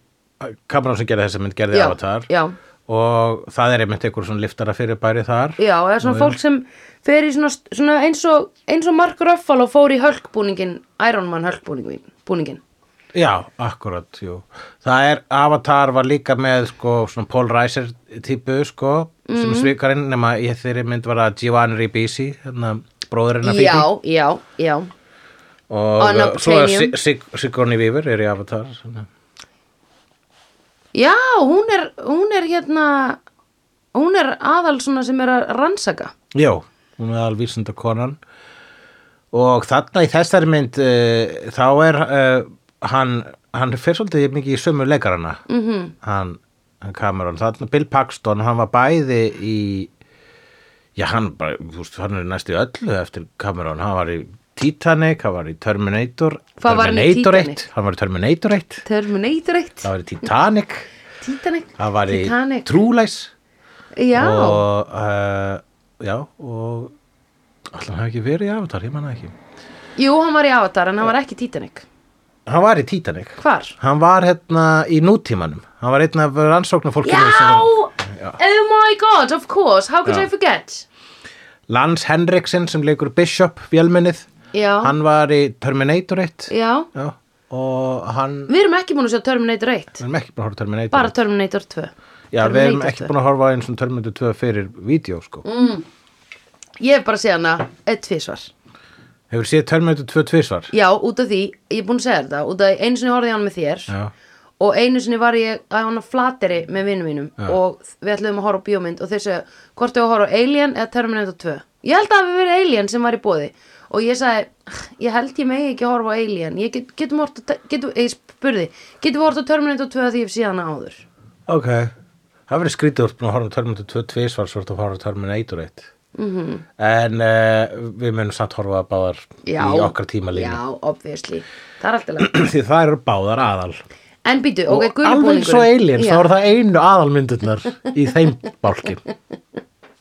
S1: Cameron sem gerði þessa mynd gerði
S2: Já,
S1: Avatar
S2: já.
S1: og það er einmitt einhver svona liftara fyrirbæri þar.
S2: Já, það er svona fólk sem fer í svona, svona eins, og, eins og Mark Ruffalo fór í hölkbúningin Iron Man hölkbúningin búningin.
S1: Já, akkurat, jú. Það er, Avatar var líka með sko svona Paul Reiser típu sko sem svikarinn nema í þeirri mynd var að Giovanni Ribisi, hérna bróðurinn að
S2: Já, já, já
S1: og
S2: On a
S1: uh, svo er
S2: planium.
S1: Sig- Sig- Sigourney Weaver er í Avatar. Svona.
S2: Já, hún er, hún er hérna hún er aðal svona sem er að rannsaka
S1: Já, hún er alvísunda konan og þarna í þessari mynd uh, þá er uh, hann, hann fyrir svolítið mikið í sömu leikarana mm -hmm.
S2: Mhm.
S1: hann, hann Cameron, þarna Bill Paxton hann var bæði í já hann bara, þú veist, hann er næstu öllu eftir Cameron, hann var í Titanic, hann var í Terminator
S2: Hvað var hann í
S1: Terminator
S2: Titanic?
S1: 1, hann var í Terminator 1
S2: Terminator 1
S1: hann var í Titanic
S2: Titanic
S1: hann var í
S2: Titanic.
S1: trúlæs
S2: Já,
S1: og uh, já og allan hafði ekki verið í Avatar, ég manna ekki
S2: jú, hann var í Avatar en hann var ekki Titanic
S1: hann var í Titanic
S2: Hvar?
S1: hann var hérna í nútímanum hann var einn af rannsóknarfólkinu
S2: Já!
S1: sem var-
S2: Oh my god, of course, how could
S1: Já.
S2: I forget?
S1: Lance Henriksen sem leikur Bishop vélmennið,
S2: Já,
S1: hann var í Terminator 1
S2: já
S1: já, og hann
S2: Við erum ekki búin að sjá Terminator 1
S1: við erum ekki búin að horfa á Terminator
S2: Bara Terminator 2
S1: já, við erum
S2: Terminator Mm.
S1: ekki
S2: 2.
S1: búin að horfa á eins og Terminator 2 fyrir vídeo sko.
S2: Ég hef bara séð hana eitt tvisvar
S1: hefur séð Terminator 2 tvisvar
S2: Já, út af því, ég er búin að segja þér þetta Út af því, einu sinni horfði ég á hann með þér
S1: já,
S2: og einu sinni var ég að hann að flateri með vinnum mínum og við ætluðum að horfa á bíómynd og þeir segja, hvort þau að horfa á Alien eða Terminator 2 ég held að það hafi verið Alien sem var í bóði og ég sagði, ég held ég megi ekki að horfa á Alien ég get, getum horft, á te- getum, ég spurði getum við horft á Terminator 2 því ég hef síðan áður
S1: ok það verið skrítið úr búin að horfa á Terminator 2 tvisvar svo ertu að horfa á Terminator 1 -hmm.
S2: Mhm.
S1: en uh, við munum samt horfa að báðar
S2: já,
S1: í okkar tímalínu
S2: já, obviously, það er alltaf leið
S1: því það eru báðar aðal
S2: en býtu, ok,
S1: og alveg svo aliens, þá
S2: Já.
S1: eru það einu aðalmyndirnar í þeim bálki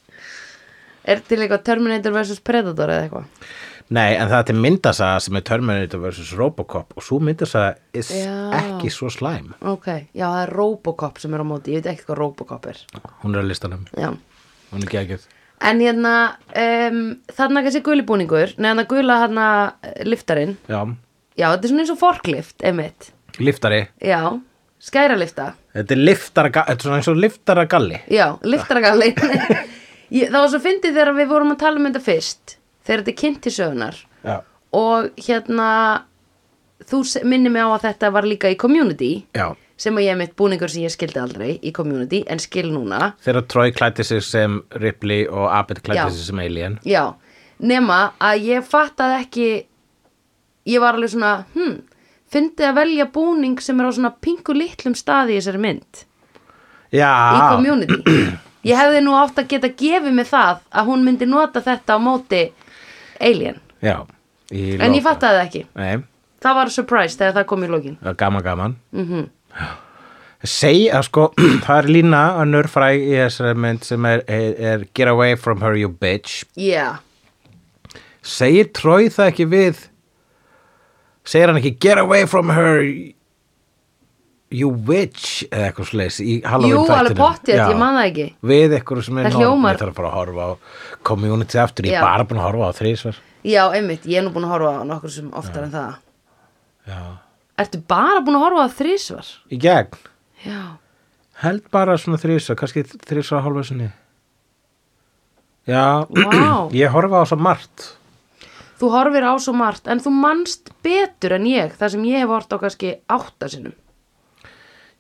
S2: er til eitthvað Terminator vs Predator eða eitthvað
S1: Nei, en það er myndasaga sem er Terminator vs. Robocop og svo myndasaga er s-
S2: Já.
S1: ekki svo slæm.
S2: ok, já, það er Robocop sem er á móti ég veit ekki hvað Robocop er
S1: Hún er að listanum,
S2: já
S1: hún er ekki ekkert.
S2: En hérna, um, þarna kannski gulibúningur, neðan að gula hérna liftarinn.
S1: Já,
S2: Já, þetta er svona eins og forklift, einmitt.
S1: liftari.
S2: Já, skæralifta.
S1: Þetta er liftara, þetta er svona eins og liftara galli.
S2: Já, liftaragalli. Ég- það var svo fyndið þegar við vorum að tala um þetta fyrst, þegar þetta er kynnt til sögunar.
S1: Já.
S2: Og hérna, þú se- minnir mig á að þetta var líka í community,
S1: Já.
S2: sem að ég er mitt búningur sem ég skildi aldrei í community, en skil núna.
S1: Þegar Troy klætti sig sem Ripley og Abed
S2: Já.
S1: klætti sig sem Alien.
S2: Já, nema að ég fattaði ekki ég var alveg svona hm, fyndið að velja búning sem er á svona pingu litlum staði í þessari mynd í
S1: Já,
S2: community ég hefði nú átt að geta gefið mig það að hún myndi nota þetta á móti Alien,
S1: já. Í
S2: en ég
S1: loka-
S2: fattaði það ekki
S1: Nei,
S2: það var surprise þegar það kom í lokin
S1: það er gaman gaman. Mm
S2: Mhm.
S1: -hmm. Segja, sko, það er lína önnur fræg í þessari mynd sem er, er, er Get away from her you bitch
S2: yeah.
S1: segir Troy það ekki við segir hann ekki get away from her you witch eða eitthvað slis í Halloween
S2: jú, alveg
S1: þættinum.
S2: pottið,
S1: Já.
S2: ég man það ekki
S1: við eitthvað sem er
S2: Það
S1: norm-
S2: hljómar-
S1: ég þarf bara að horfa á community aftur, ég
S2: Já.
S1: er bara búin að horfa á þrísvar
S2: já, einmitt, ég er nú búin að horfa á nokkur sem oftar en það
S1: já,
S2: ertu bara búin að horfa á það þrísvar
S1: í gegn
S2: já,
S1: held bara svona þrísvar, kannski þrísvar hálfa sinni já
S2: Vá.
S1: ég horfa á svo margt
S2: Þú horfir á svo margt en þú manst betur en ég þar sem ég hef hort á kannski átta sinnum.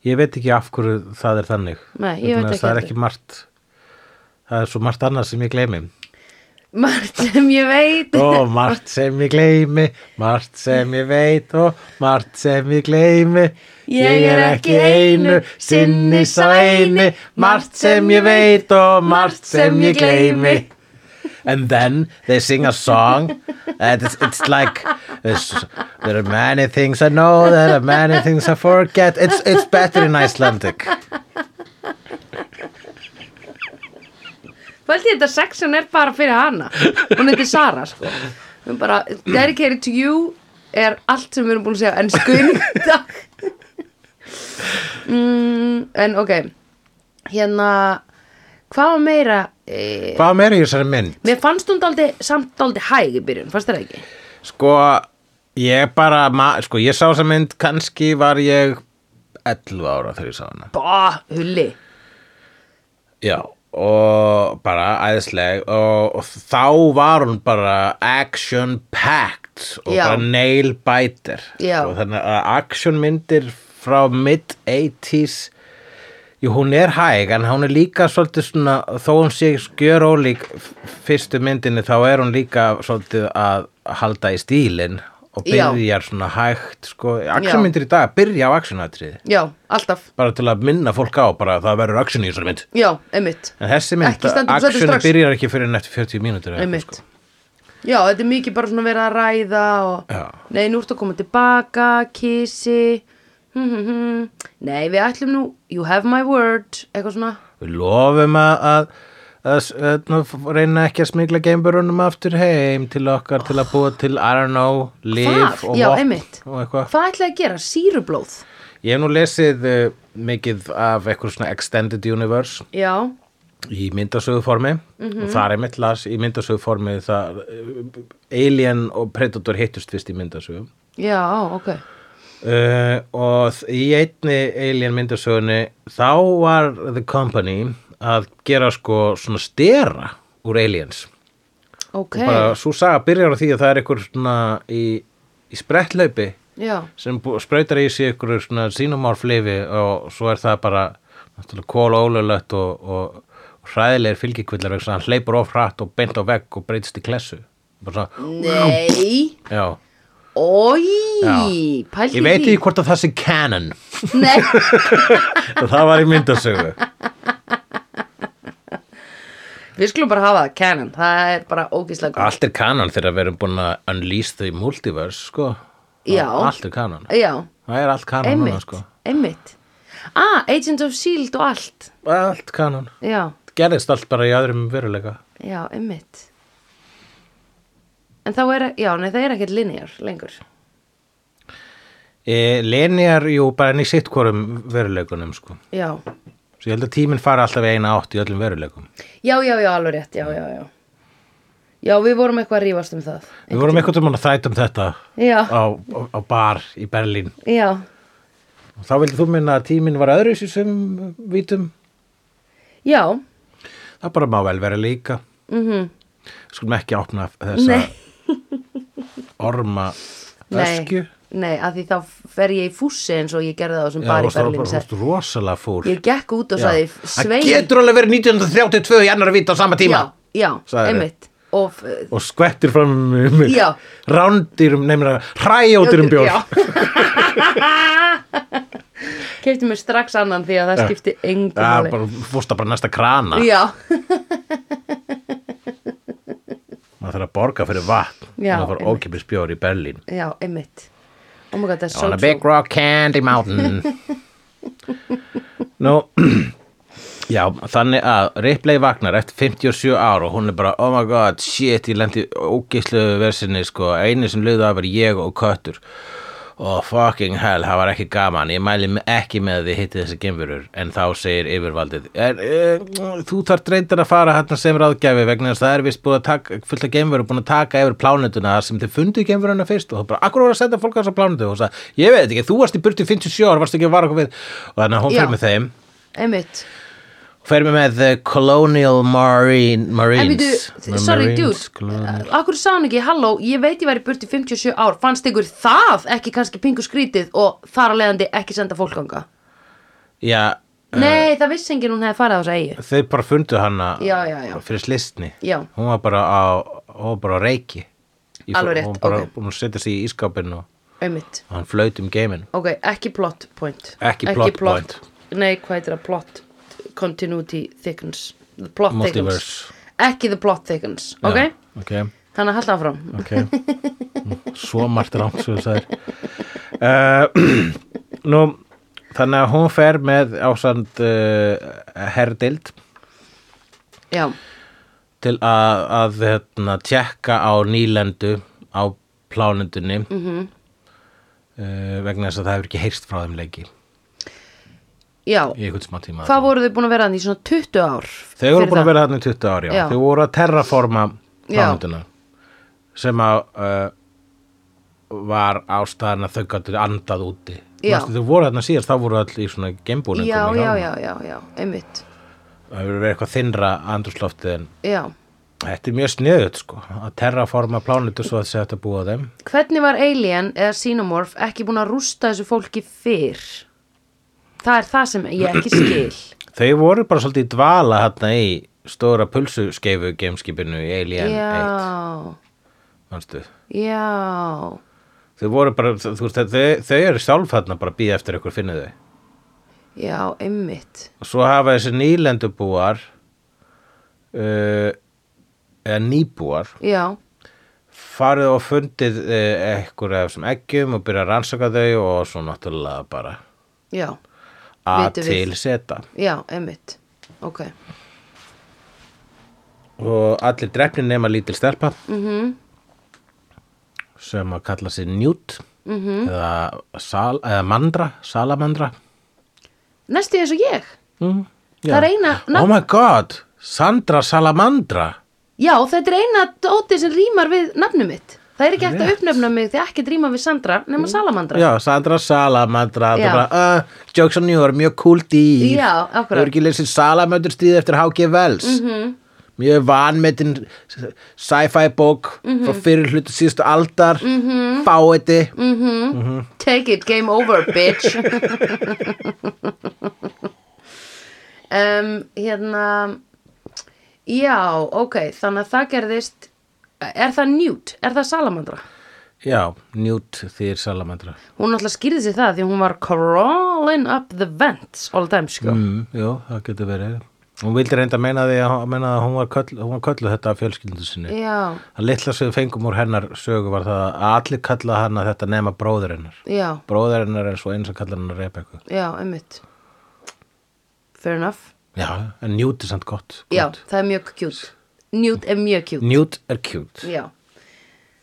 S1: Ég veit ekki af hverju það er þannig.
S2: Nei, ég
S1: Vegna
S2: veit
S1: þess
S2: ekki
S1: að Það er
S2: heldur.
S1: ekki margt, það er svo margt annað sem ég gleymi.
S2: Margt sem ég veit.
S1: Ó, margt sem ég gleymi, margt sem ég veit og margt sem ég gleymi. Ég er ekki einu, sinni sæni, margt sem ég veit og margt sem ég gleymi. And then they sing a song and it's, it's like it's, there are many things I know, there are many things I forget. It's, it's better in Icelandic.
S2: Fældi þetta section er bara fyrir hana. Hún heitir Sara sko. Hún bara, dedicated to you er allt sem við erum búin að segja en skunda. mm, en ok, hérna, hvað var meira... E
S1: Hvað meira í þessari mynd?
S2: Mér fannst hún daldi, samt daldi hæg í byrjun, fannst þér það ekki?
S1: Sko, ég bara, ma- sko, ég sá þessa mynd, kannski var ég 11 ára þegar ég sá hana.
S2: Bá, hulli.
S1: Já, og bara æðisleg og, og þá var hún bara action-packed og
S2: Já.
S1: bara nail-biter.
S2: Já.
S1: Sko, þannig að actionmyndir frá mid-80s, jú, hún er hæg, en hún er líka svolítið svona, þó hún sé skjör ólík fyrstu myndinni, þá er hún líka svolítið að halda í stílinn og
S2: Já.
S1: byrjar svona hægt, sko, actionmyndir í dag byrja á actionatriði,
S2: Já, alltaf.
S1: bara til að minna fólk á bara að það verður action í þessari mynd.
S2: Já, einmitt,
S1: En þessi mynd,
S2: Ekki stendur upp, stendur
S1: aksjoni
S2: strax.
S1: byrjar ekki fyrir nættu 40 mínútur eða eitthvað, sko.
S2: einmitt. Já, þetta er mikið bara svona verið að ræða og
S1: Já.
S2: Nei, nú ertu að koma tilbaka, kissi hm, hm, hm. Nei, við ætlum nú You have my word, eitthvað svona
S1: Við lofum að, að, að, s- að nú f- reyna ekki að smigla geimburunum aftur heim til okkar til að búa til, I don't know,
S2: Hvað?
S1: liv og
S2: Já,
S1: vopn
S2: einmitt.
S1: og eitthvað.
S2: Hvað ætlaði að gera? Sýrublóð
S1: Ég hef nú lesið uh, mikið af eitthvað svona Extended Universe
S2: Já,
S1: í myndasöguformi
S2: Mhm.
S1: og þar er mitt las í myndasöguformi það eh, Alien og Predator hittust fyrst í myndasögum
S2: já, ok
S1: uh, og þ- í einni Alien myndasögunni þá var The Company að gera sko svona stera úr Aliens
S2: Ok,
S1: bara svo saga byrjar á því að það er einhver svona í, í sprettlaupi
S2: já,
S1: sem bú- sprautar í sig ykkur svona xenomorflifi og svo er það bara náttúrulega kólólulegt og, og hræðilegir fylgikvillar vegna þess að hann hleypur of hratt og beint á vegg og breytist í klessu bara svona,
S2: nei
S1: já,
S2: Ói,
S1: já.
S2: pældi
S1: ég veit ekki hvort að það sé canon
S2: Nei,
S1: það var í myndasögu
S2: við skulum bara hafa það canon Það er bara ógíslega gott
S1: allt er canon þegar við erum búin að unleash the multiverse sko
S2: Já.
S1: allt er canon,
S2: Já,
S1: það er allt canon núna,
S2: einmitt,
S1: sko.
S2: einmitt Ah, Agent of S.H.I.E.L.D. og allt
S1: allt canon,
S2: Já,
S1: gerðist allt bara í aðrum veruleika
S2: já, einmitt En þá er, e, já, nei, það er ekkert linear lengur
S1: e, Lenjar, jú, bara enn í sitt hvorum veruleikunum, sko.
S2: Já,
S1: Svo ég held að tíminn fara alltaf í eina átt í öllum veruleikum.
S2: já, já, já, alveg rétt, já, já, já Já, við vorum eitthvað að rífast um það
S1: Við vorum einhvern veginn að þræta um þetta
S2: Já,
S1: á, á, á bar í Berlín.
S2: já,
S1: Og þá vildið þú minna að tíminn var öðru sem vítum.
S2: já
S1: Það bara má vel vera líka.
S2: mm
S1: Skulum ekki opna þessa
S2: Nei.
S1: orma öskju.
S2: Nei, að því þá fer ég í fússi eins og ég gerði það á sem
S1: Já,
S2: bar
S1: þú
S2: í Berlín
S1: varst- varst rosalega fúr.
S2: Ég gekk út og sagði
S1: Það
S2: svein
S1: getur alveg verið 1932 í annar víta á sama tíma.
S2: Já, já,
S1: Sagðirðu.
S2: einmitt Og eh, f-
S1: Og skvettir fram um mig.
S2: Já.
S1: Rándýrum, nefnir að hræjótýrum um bjór.
S2: Kefti mér strax annan því að það skipti engu
S1: Já,
S2: máli
S1: bara, fórst að bara næsta krana
S2: Já,
S1: maður þarf að borga fyrir vatn
S2: Já,
S1: maður fór
S2: einmitt.
S1: ókipis bjór í Berlín
S2: já, einmitt Oh my god, það er
S1: on
S2: so
S1: a big rock candy mountain nú já, þannig að Ripley vagnar eftir 57 ár og hún er bara oh my god, shit, ég lendi ógislu versinni, sko, einu sem löðu af er ég og köttur og fucking hell, það var ekki gaman ég mæli me- ekki með að þið hitti þessi gemfurur en þá segir yfirvaldið er, er, þú þarft reyndar að fara hérna sem ráðgjafi vegna þess að það er vist búið að taka fullt af gemfurur búin að taka yfir plánetuna þar sem þið fundu gemfuruna fyrst og það bara, akkur voru að senda fólk á þessa plánetu og hún sagði, ég veit ekki, þú varst í burtu í 57 ára, varst ekki að vara okkur við og þannig að hún
S2: Já.
S1: fer með þeim
S2: Einmitt
S1: fer með eh, Colonial Marine, Marines
S2: En býtu, sorry dude Eh.
S1: Marines, Colonial-
S2: Akkur sá hann ekki, halló, ég veit ég væri burt í 57 ár Fannst ykkur það ekki kannski pingu skrítið Og þar að leiðandi ekki senda fólkanga
S1: Já,
S2: Nei, það vissi enginn hún hefði farið á þessa eigi
S1: þeir bara fundu hana
S2: Já, já, já.
S1: fyrir slistni
S2: Já.
S1: hún var bara á, hún var bara á reiki Í-
S2: Alveg rétt,
S1: hún bara
S2: ok.
S1: búin að setja sig í ískapin og,
S2: Einmitt
S1: og hann flaut um geimin
S2: Ok, ekki plot point
S1: Ekki plot
S2: Nei, hvað heitir það? Plot continuity thickens The plot
S1: Multiverse.
S2: thickens Ekki the plot thickens, ok?
S1: okay.
S2: Þannig að halda áfram
S1: ok svo margt rangt svo það er uh, nú þannig að hún fer með ásand uh, herdild
S2: Já,
S1: til að, að hérna, tjekka á nýlendu á plánendunni mm
S2: Mhm.
S1: -hmm. Eh, vegna þess að það hefur ekki heyrst frá þeim leiki
S2: já
S1: í einhvern smá tíma
S2: Hvað voru þau búin að vera þannig í svona 20 ár?
S1: Þau voru búin að vera þarna í 20 ári, já.
S2: Já.
S1: Þau voru að terraforma
S2: Já.
S1: plánunduna sem að uh, var ástæðan að þau gættu andað úti.
S2: Já.
S1: Manstu, þau voru þarna síðast, þá voru allir í svona gembúningum.
S2: Já, já,
S1: í hjálmum.
S2: já, já, já, einmitt
S1: Það hefur verið eitthvað þinnra andrúsloftið en
S2: Já
S1: þetta er mjög sniðut, sko, að terraforma plánundu svo að þessi hægt að búa á þeim.
S2: Hvernig var Alien eða Xenomorph ekki búin að rústa þessu fólki fyrr? Það er það sem ég ekki skil
S1: Þau voru bara svolítið í dvala hérna í stóra pulsuskeifu gameskipinu í Alien 1,
S2: Já,
S1: manstu?
S2: já
S1: Þau voru bara, þú veist, þau, þau eru sjálf hérna bara að býða eftir ykkur finnið þau.
S2: Já, einmitt
S1: og svo hafa þessi nýlendubúar uh, eða nýbúar
S2: Já,
S1: farið og fundið ekkur af þessum eggjum og byrjað að rannsaka þau og svo náttúrulega bara
S2: já,
S1: að
S2: Vitum við.
S1: til seta
S2: já, einmitt ok,
S1: og allir drefnir nema lítil stelpa
S2: Mhm.
S1: -hmm. sem að kalla sér njút
S2: Mhm.
S1: -hmm. eða, sal, eða mandra salamandra
S2: næstu eins og ég
S1: mm,
S2: Það er
S1: já.
S2: eina
S1: oh
S2: nafn-
S1: my god, Sandra salamandra
S2: já, þetta er eina dóti sem rýmar við nafnum mitt það er ekki hægt að
S1: Rétt. Mm.
S2: uppnefna mig því ekki rýma við Sandra nema Salamandra
S1: já, Sandra salamandra já.
S2: Já.
S1: Bara, uh, jokes on you, það er mjög cool dýr
S2: Já, akkurat. Mhm.
S1: þau eru ekki leysið salamandur stíð eftir H.G. Wells -hmm. mjög vanmetin sci-fi bók
S2: Mhm.
S1: frá fyrir hlutu síðustu aldar mm -hmm. fáiði
S2: Mm. Take it, game over, bitch um, Hérna Já, ok Þannig að það gerðist Er það njút? Er það salamandra?
S1: já, njút þýr salamandra
S2: Hún náttúrulega skýrði sér það því hún var crawling up the vents all the time, sko
S1: Mm, jú, það getur verið. Hún vildi reynda að meina því að, meina að hún, var köll, hún var kölluð þetta af fjölskyldu sinni.
S2: Já,
S1: Það litla sem við fengum úr hennar sögu var það að allir kallaði hana þetta nema bróður hennar.
S2: já,
S1: Bróður hennar er svo eins að kalla hennar Rebekku.
S2: já, einmitt Fair enough
S1: Já, en Newt er samt gott.
S2: Já,
S1: gott.
S2: það er mjög cute Njút er mjög cute
S1: Newt er cute
S2: Já,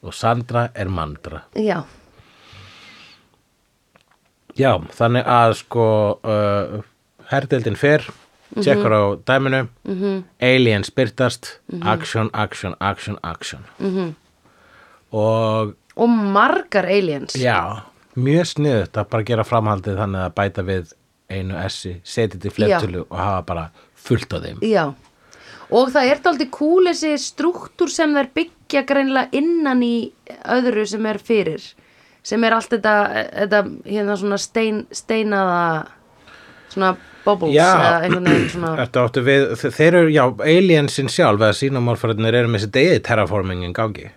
S1: og Sandra er mandra.
S2: já,
S1: Já, þannig að sko uh, herdeldin fer,
S2: Mhm.
S1: tjekkar á dæminu, -hmm. aliens byrtast,
S2: Mhm.
S1: action, action, action, action. -hmm. Og
S2: og margar aliens
S1: Já, mjög sniðut að bara gera framhaldið þannig að bæta við einu S-i, setja þetta í flertölu og hafa bara fullt á þeim.
S2: Já, og það er daldið cool þessi struktúr sem þær byggja greinlega innan í öðru sem er fyrir sem er allt þetta, þetta hérna svona stein, steinaða svona bubbles
S1: Já.
S2: eða einhvern veginn svona
S1: Þetta áttu við, þe- þeir eru, já, aliensin sjálf eða sínumorfærinir eru með þessi degi terraformingin gangi.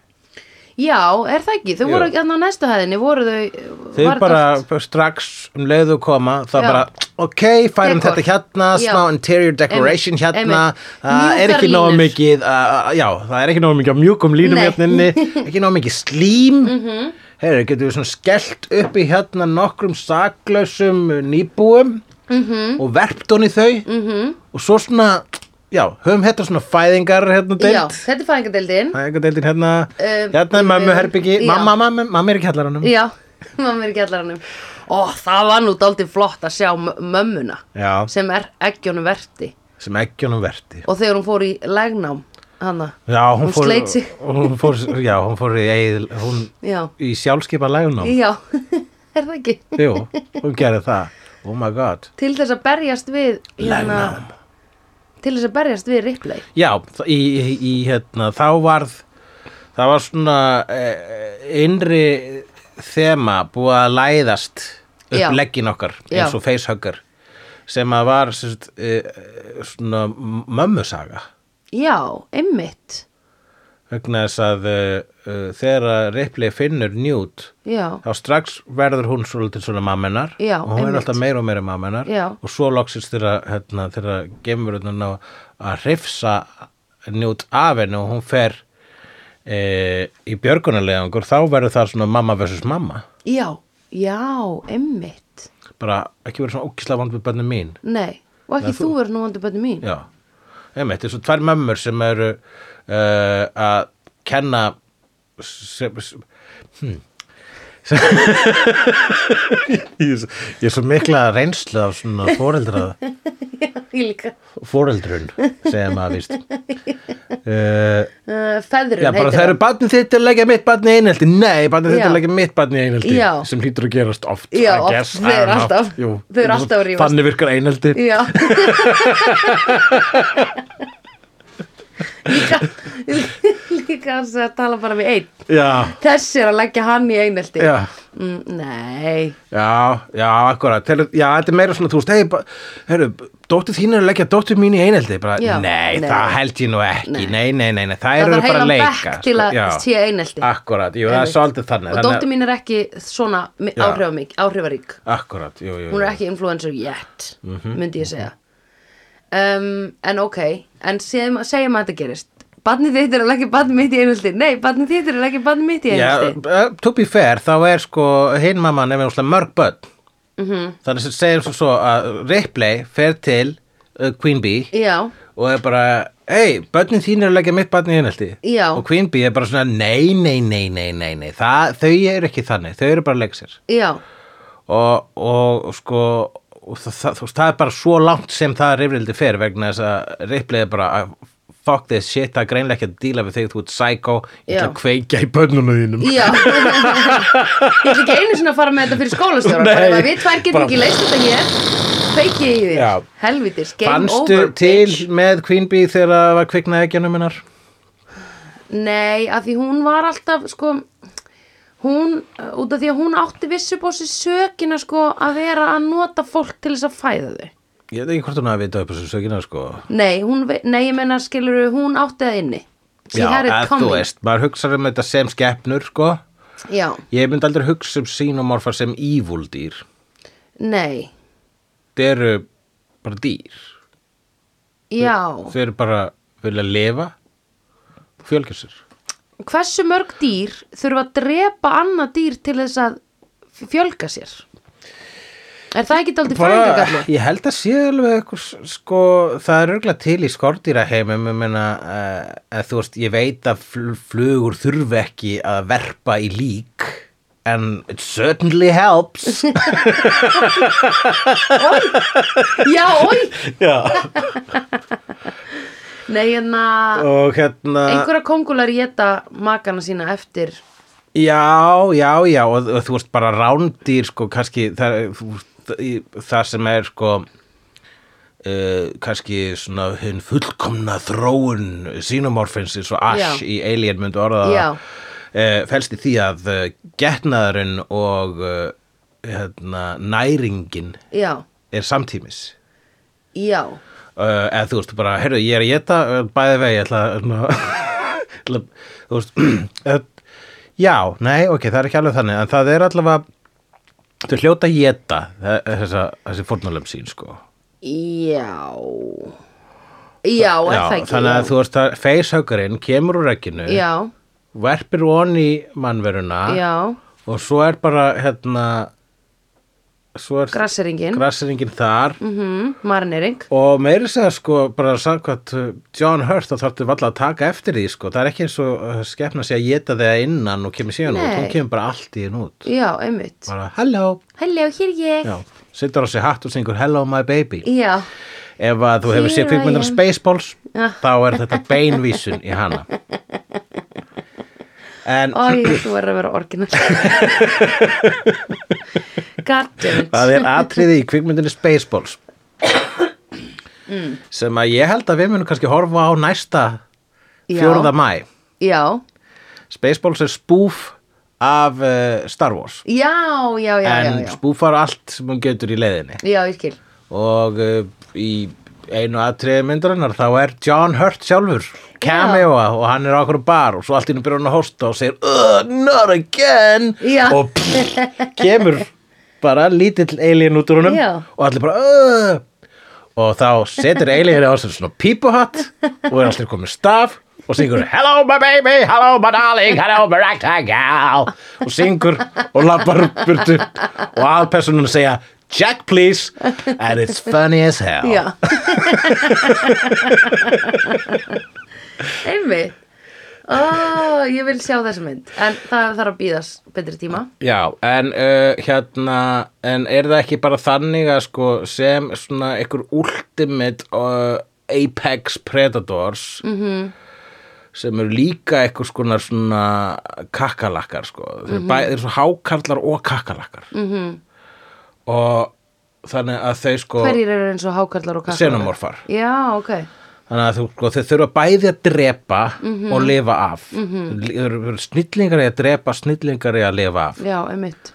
S2: Já, er það ekki? Þau
S1: Jú.
S2: voru ekki þarna á næstu hæðinni voru þau
S1: Þeir
S2: var
S1: bara
S2: þetta allt-
S1: strax um leiðu koma, það
S2: Já.
S1: bara, ok, færum
S2: Dekor.
S1: þetta hérna,
S2: Já.
S1: smá interior decoration
S2: Einmitt,
S1: hérna,
S2: einmitt.
S1: það er
S2: Mjúkar
S1: ekki nóg
S2: línur.
S1: mikið, uh, já, það er ekki nóg mikið á mjúkum línum
S2: Nei. Mhm.
S1: hérna inni, ekki nóg mikið slím, mm -hmm. heyrðu, getum við svona skellt upp í hérna nokkrum saklausum nýbúum
S2: Mhm.
S1: -hmm. og verpt honi þau -hmm. og svo svona, já, höfum hérna svona fæðingar hérna deilt.
S2: Já, þetta er fæðingadeildin
S1: Það er eitthvað deildin hérna,
S2: Um,
S1: hérna er mömmu
S2: um,
S1: herbyggi,
S2: já.
S1: mamma, mamma, mamma er í kjallaranum.
S2: Já, mamma er í kjallaranum Ó, það var nú daldið flott að sjá mö- mömmuna
S1: Já,
S2: sem er eggjónu verti
S1: sem eggjónum verti.
S2: og þegar hún fór í legnám hana,
S1: Já, hún,
S2: Hún
S1: fór,
S2: sleit sig.
S1: hún fór, já, hún fór í, eigið, hún,
S2: já,
S1: í sjálfskipa lægunum,
S2: já er það ekki,
S1: jú, hún gerði það, oh my god.
S2: til þess að berjast við hérna,
S1: Legnám.
S2: til þess að berjast við Ripley
S1: Já, þ- í, í, í hérna, þá varð, það var svona eh, innri þema búið að læðast upp
S2: Já.
S1: leggin okkar,
S2: Já.
S1: eins og facehugger, sem að var sem sagt, eh, svona mömmusaga.
S2: já, einmitt
S1: vegna þess að uh, uh, þegar að Ripley finnur njút
S2: já,
S1: þá strax verður hún svolítið svona mammenar
S2: Já,
S1: og hún er
S2: einmitt.
S1: alltaf meira og meira mammenar
S2: Já.
S1: og svo loksist þegar hérna, þegar gemurinn að, að hrifsa njút af henni og hún fer e, í björgunarlegangur þá verður það svona mamma versus mamma
S2: já, já, einmitt
S1: bara ekki verið svona ókislega vond við bönni mín
S2: nei, og ekki þú verður nú vandur bönni mín
S1: Já, einmitt, þessu tvær mömmur sem eru uh, að kenna sem, sem, hmm. sem, ég, er svo- ég er svo mikla reynslu af svona fóreldrað
S2: ég líka,
S1: fóreldrun segja maður víst uh,
S2: uh, feðrun
S1: Já, bara það eru barnið þitt er að leggja mitt barnið í einhelti Nei, barnið þitt er
S2: Já.
S1: að leggja mitt barnið í einhelti
S2: Já.
S1: sem hlýtur að gerast oft
S2: Já,
S1: I
S2: oft.
S1: guess, I
S2: Þau eru
S1: don't know.
S2: alltaf-
S1: Jú,
S2: þau eru alltaf að rífast.
S1: Þannig virkar einhelti
S2: já líka líka þess að tala bara við einn
S1: Já,
S2: þessi er að leggja hann í einelti
S1: já
S2: mm, nei
S1: Já, já, akkurat Þeir, Já, þetta er meira svona, þú veist hey, ba- heyrðu, dóttir þín er að leggja dóttir mín í eineldi bara,
S2: Já.
S1: nei,
S2: Nei.
S1: það held ég nú ekki Nei,
S2: Nei.
S1: nei, nei, nei, það
S2: það
S1: eru
S2: þarf
S1: bara að
S2: heilan
S1: leika sko.
S2: bekk til að sé einelti
S1: Akkurat, jú, það er
S2: Einmitt.
S1: svolítið þannig
S2: og
S1: þannig að-
S2: dóttir mín er ekki svona mi-
S1: Já.
S2: áhrifamik, áhrifarík
S1: Akkurat, jú, jú, jú
S2: hún er ekki influencer yet
S1: Mhm.
S2: myndi ég segja um, en ok, en segjum, segjum að þetta gerist Barnið þitt er að leggja barnið mitt í einhaldi Nei, barnið þitt er að leggja barnið mitt í
S1: Já,
S2: einhaldi
S1: eh, to be fair, þá er sko hinn mamman er mjög mörg börn
S2: Mhm.
S1: -hmm. þannig sem segir svo- svo að Ripley fer til uh, Queen Bee
S2: Já,
S1: og er bara hei, börnin þín eru að leggja mitt barn í einhaldi
S2: Já.
S1: og Queen Bee er bara svona nei, nei, nei, nei, nei, nei. Það, þau eru ekki þannig, þau eru bara að leggja sér
S2: já,
S1: og, og sko og það, það, það, það er bara svo langt sem það rifrildi fer vegna þess að Ripley er bara að fuck this shit, það er greinlega ekki að díla við þig, þú ert psycho, ég ætla
S2: Já.
S1: að kveikja í börnunum þínum
S2: já Ég ætla ekki einu sinni að fara með þetta fyrir skólastjóra
S1: Nei.
S2: bara ef að Við tvær getum
S1: Bara-
S2: ekki leist þetta hér Feiki ég í þér
S1: Já.
S2: Helvitis, game
S1: Fannstu
S2: over
S1: til
S2: bitch.
S1: með Queen Bee þegar það var kviknað eggjunum hennar?
S2: Nei, af því hún var alltaf sko hún, uh, út af því að hún átti vissu bósi sökina sko að vera að nota fólk til þess að fæða þau
S1: Ég veit ekki hvort hún hafi vitað upp þessu sökina sko
S2: Nei, hún, ve- nei ég menna skilur hún átti það inni She had it
S1: að þú
S2: coming.
S1: veist, maður hugsaður um þetta sem skeppnur sko
S2: Já,
S1: Ég myndi aldrei hugsa um sínomorfa sem evil dýr
S2: nei,
S1: Þau eru bara dýr
S2: já
S1: Þau eru bara vilja lifa fjölgjur sér
S2: Hversu mörg dýr þurfa að drepa annað dýr til þess að f- fjölga sér? Er það ekki daldið fæðingagallu?
S1: ég held að sé alveg eitthvað, sko, það er örgulega til í skordýra heimum, ég meina uh, að þú veist, ég veit að fl flugur þurfi ekki að verpa í lík en it certainly helps
S2: Já, oi!
S1: Já.
S2: Nei, en að
S1: og hérna
S2: einhverja kongular geta makana sína eftir
S1: já, já, já og, og þú veist bara rándýr sko, kannski það, er- þú, það, í- það sem er sko Uh, kannski svona hinn fullkomna þróun sínomorfins eins og Ash
S2: Já.
S1: í Alien myndu orða það
S2: Já.
S1: uh, felst í því að uh, getnaðurinn og uh, hérna, næringin
S2: Já,
S1: er samtímis
S2: já,
S1: uh, eða þú veist bara, heyrðu, ég er að geta uh, bæði vegi, ég ætla að hérna, ætla- þú veist uh, já, nei, ok, það er ekki alveg þannig en það er allavega þau hljóta að geta þessa, þessi fórnulem sín sko
S2: já Já, er það ekki
S1: þannig
S2: já.
S1: að þú veist að facehuggerinn kemur úr ekkinu
S2: Já,
S1: verpir von í mannveruna
S2: já,
S1: og svo er bara hérna svo er
S2: grasseringin
S1: grasseringin þar
S2: mm Marinering
S1: Og meiri segja sko, bara samkvæmt uh, John Hurt, þá þarftu valla að taka eftir því sko, það er ekki eins og uh, skepna sé að geta þig að innan og kemur síðan út,
S2: Nei.
S1: hún kemur bara allt í henn út.
S2: Já, einmitt
S1: Bara, hello,
S2: Hello, hér er ég
S1: já, sittur á sig hatt og syngur hello my baby.
S2: Já,
S1: Ef að þú hefur
S2: Here
S1: séð
S2: I
S1: kvikmyndina
S2: am. Ah.
S1: Spaceballs,
S2: Já.
S1: þá er þetta beinvísun í hana. En
S2: ó, þú verður að vera orginal God damn it
S1: það er atriði í kvikmyndinni Spaceballs
S2: Mm.
S1: sem að ég held að við munum kannski horfa á næsta
S2: Já.
S1: 4. mæ.
S2: Já,
S1: Spaceballs er spoof af uh, Star Wars
S2: já, já, já, já,
S1: en
S2: já.
S1: spoofar allt sem hún getur í leiðinni
S2: Já, ég skil
S1: og uh, í einu aðtriði myndarinnar þá er John Hurt sjálfur cameoa og hann er á okkur bar og svo allt í hennu byrjar hann að hósta og segir "Ugh, not again
S2: Já.
S1: og pff, kemur bara lítill alien út úr honum
S2: Já.
S1: og allir bara "Ugh." og þá setur alien á sér svona pípuhatt og er allir komið staf og syngur hello my baby, hello my darling hello my rectangle og syngur og lappar upp burtu og aðpersonun segja Jack please and it's funny as hell
S2: Já Einmitt Ó, ég vil sjá þessa mynd En það þarf að býðast betri tíma
S1: Já, en uh, hérna, en er það ekki bara þannig að sko sem svona einhver ultimate uh, apex predators
S2: Mhm,
S1: -hmm. sem eru líka einhvers konar svona kakkalakkar sko,
S2: Mhm.
S1: þeir eru, bæ, þeir eru svo hákarlar og kakkalakkar
S2: Mm.
S1: -hmm. og þannig að þau sko
S2: Hverjir eru eins og hákarlar og kaklar?
S1: xenomorfar,
S2: Já, ok
S1: þannig að þú, sko, þau þurfa bæði að drepa
S2: Mhm.
S1: og lifa af mm -hmm. snillingar í að drepa, snillingar í að lifa af
S2: Já, einmitt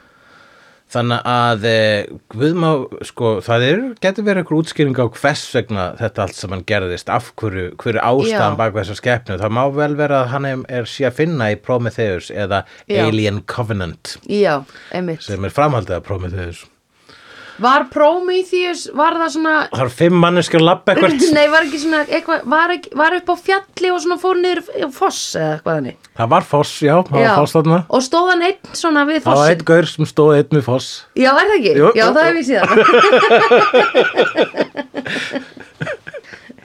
S1: Þannig að eh, guð má, sko, það er, getur verið einhver útskýring á hvers vegna þetta allt sem hann gerðist, af hverju, hverju ástæðan
S2: Já.
S1: bak við þessa skepnu, það má vel vera að hann er- er sé að finna í Prometheus eða
S2: Já.
S1: Alien Covenant
S2: Já, einmitt
S1: sem er framhaldið af Prometheus
S2: Var Prometheus, var það svona
S1: það er fimm manneskja að labba eitthvað
S2: Nei, var ekki svona eitthvað, var, ekki, var upp á fjalli og svona fór niður á foss eða eitthvað þannig
S1: það var foss, já, það var foss þarna
S2: og stóð hann einn svona við
S1: það var
S2: fossin
S1: einn gaur sem stóð einn við foss
S2: Já, er það ekki?
S1: Jú,
S2: Já,
S1: jú,
S2: það
S1: jú.
S2: hef ég síðan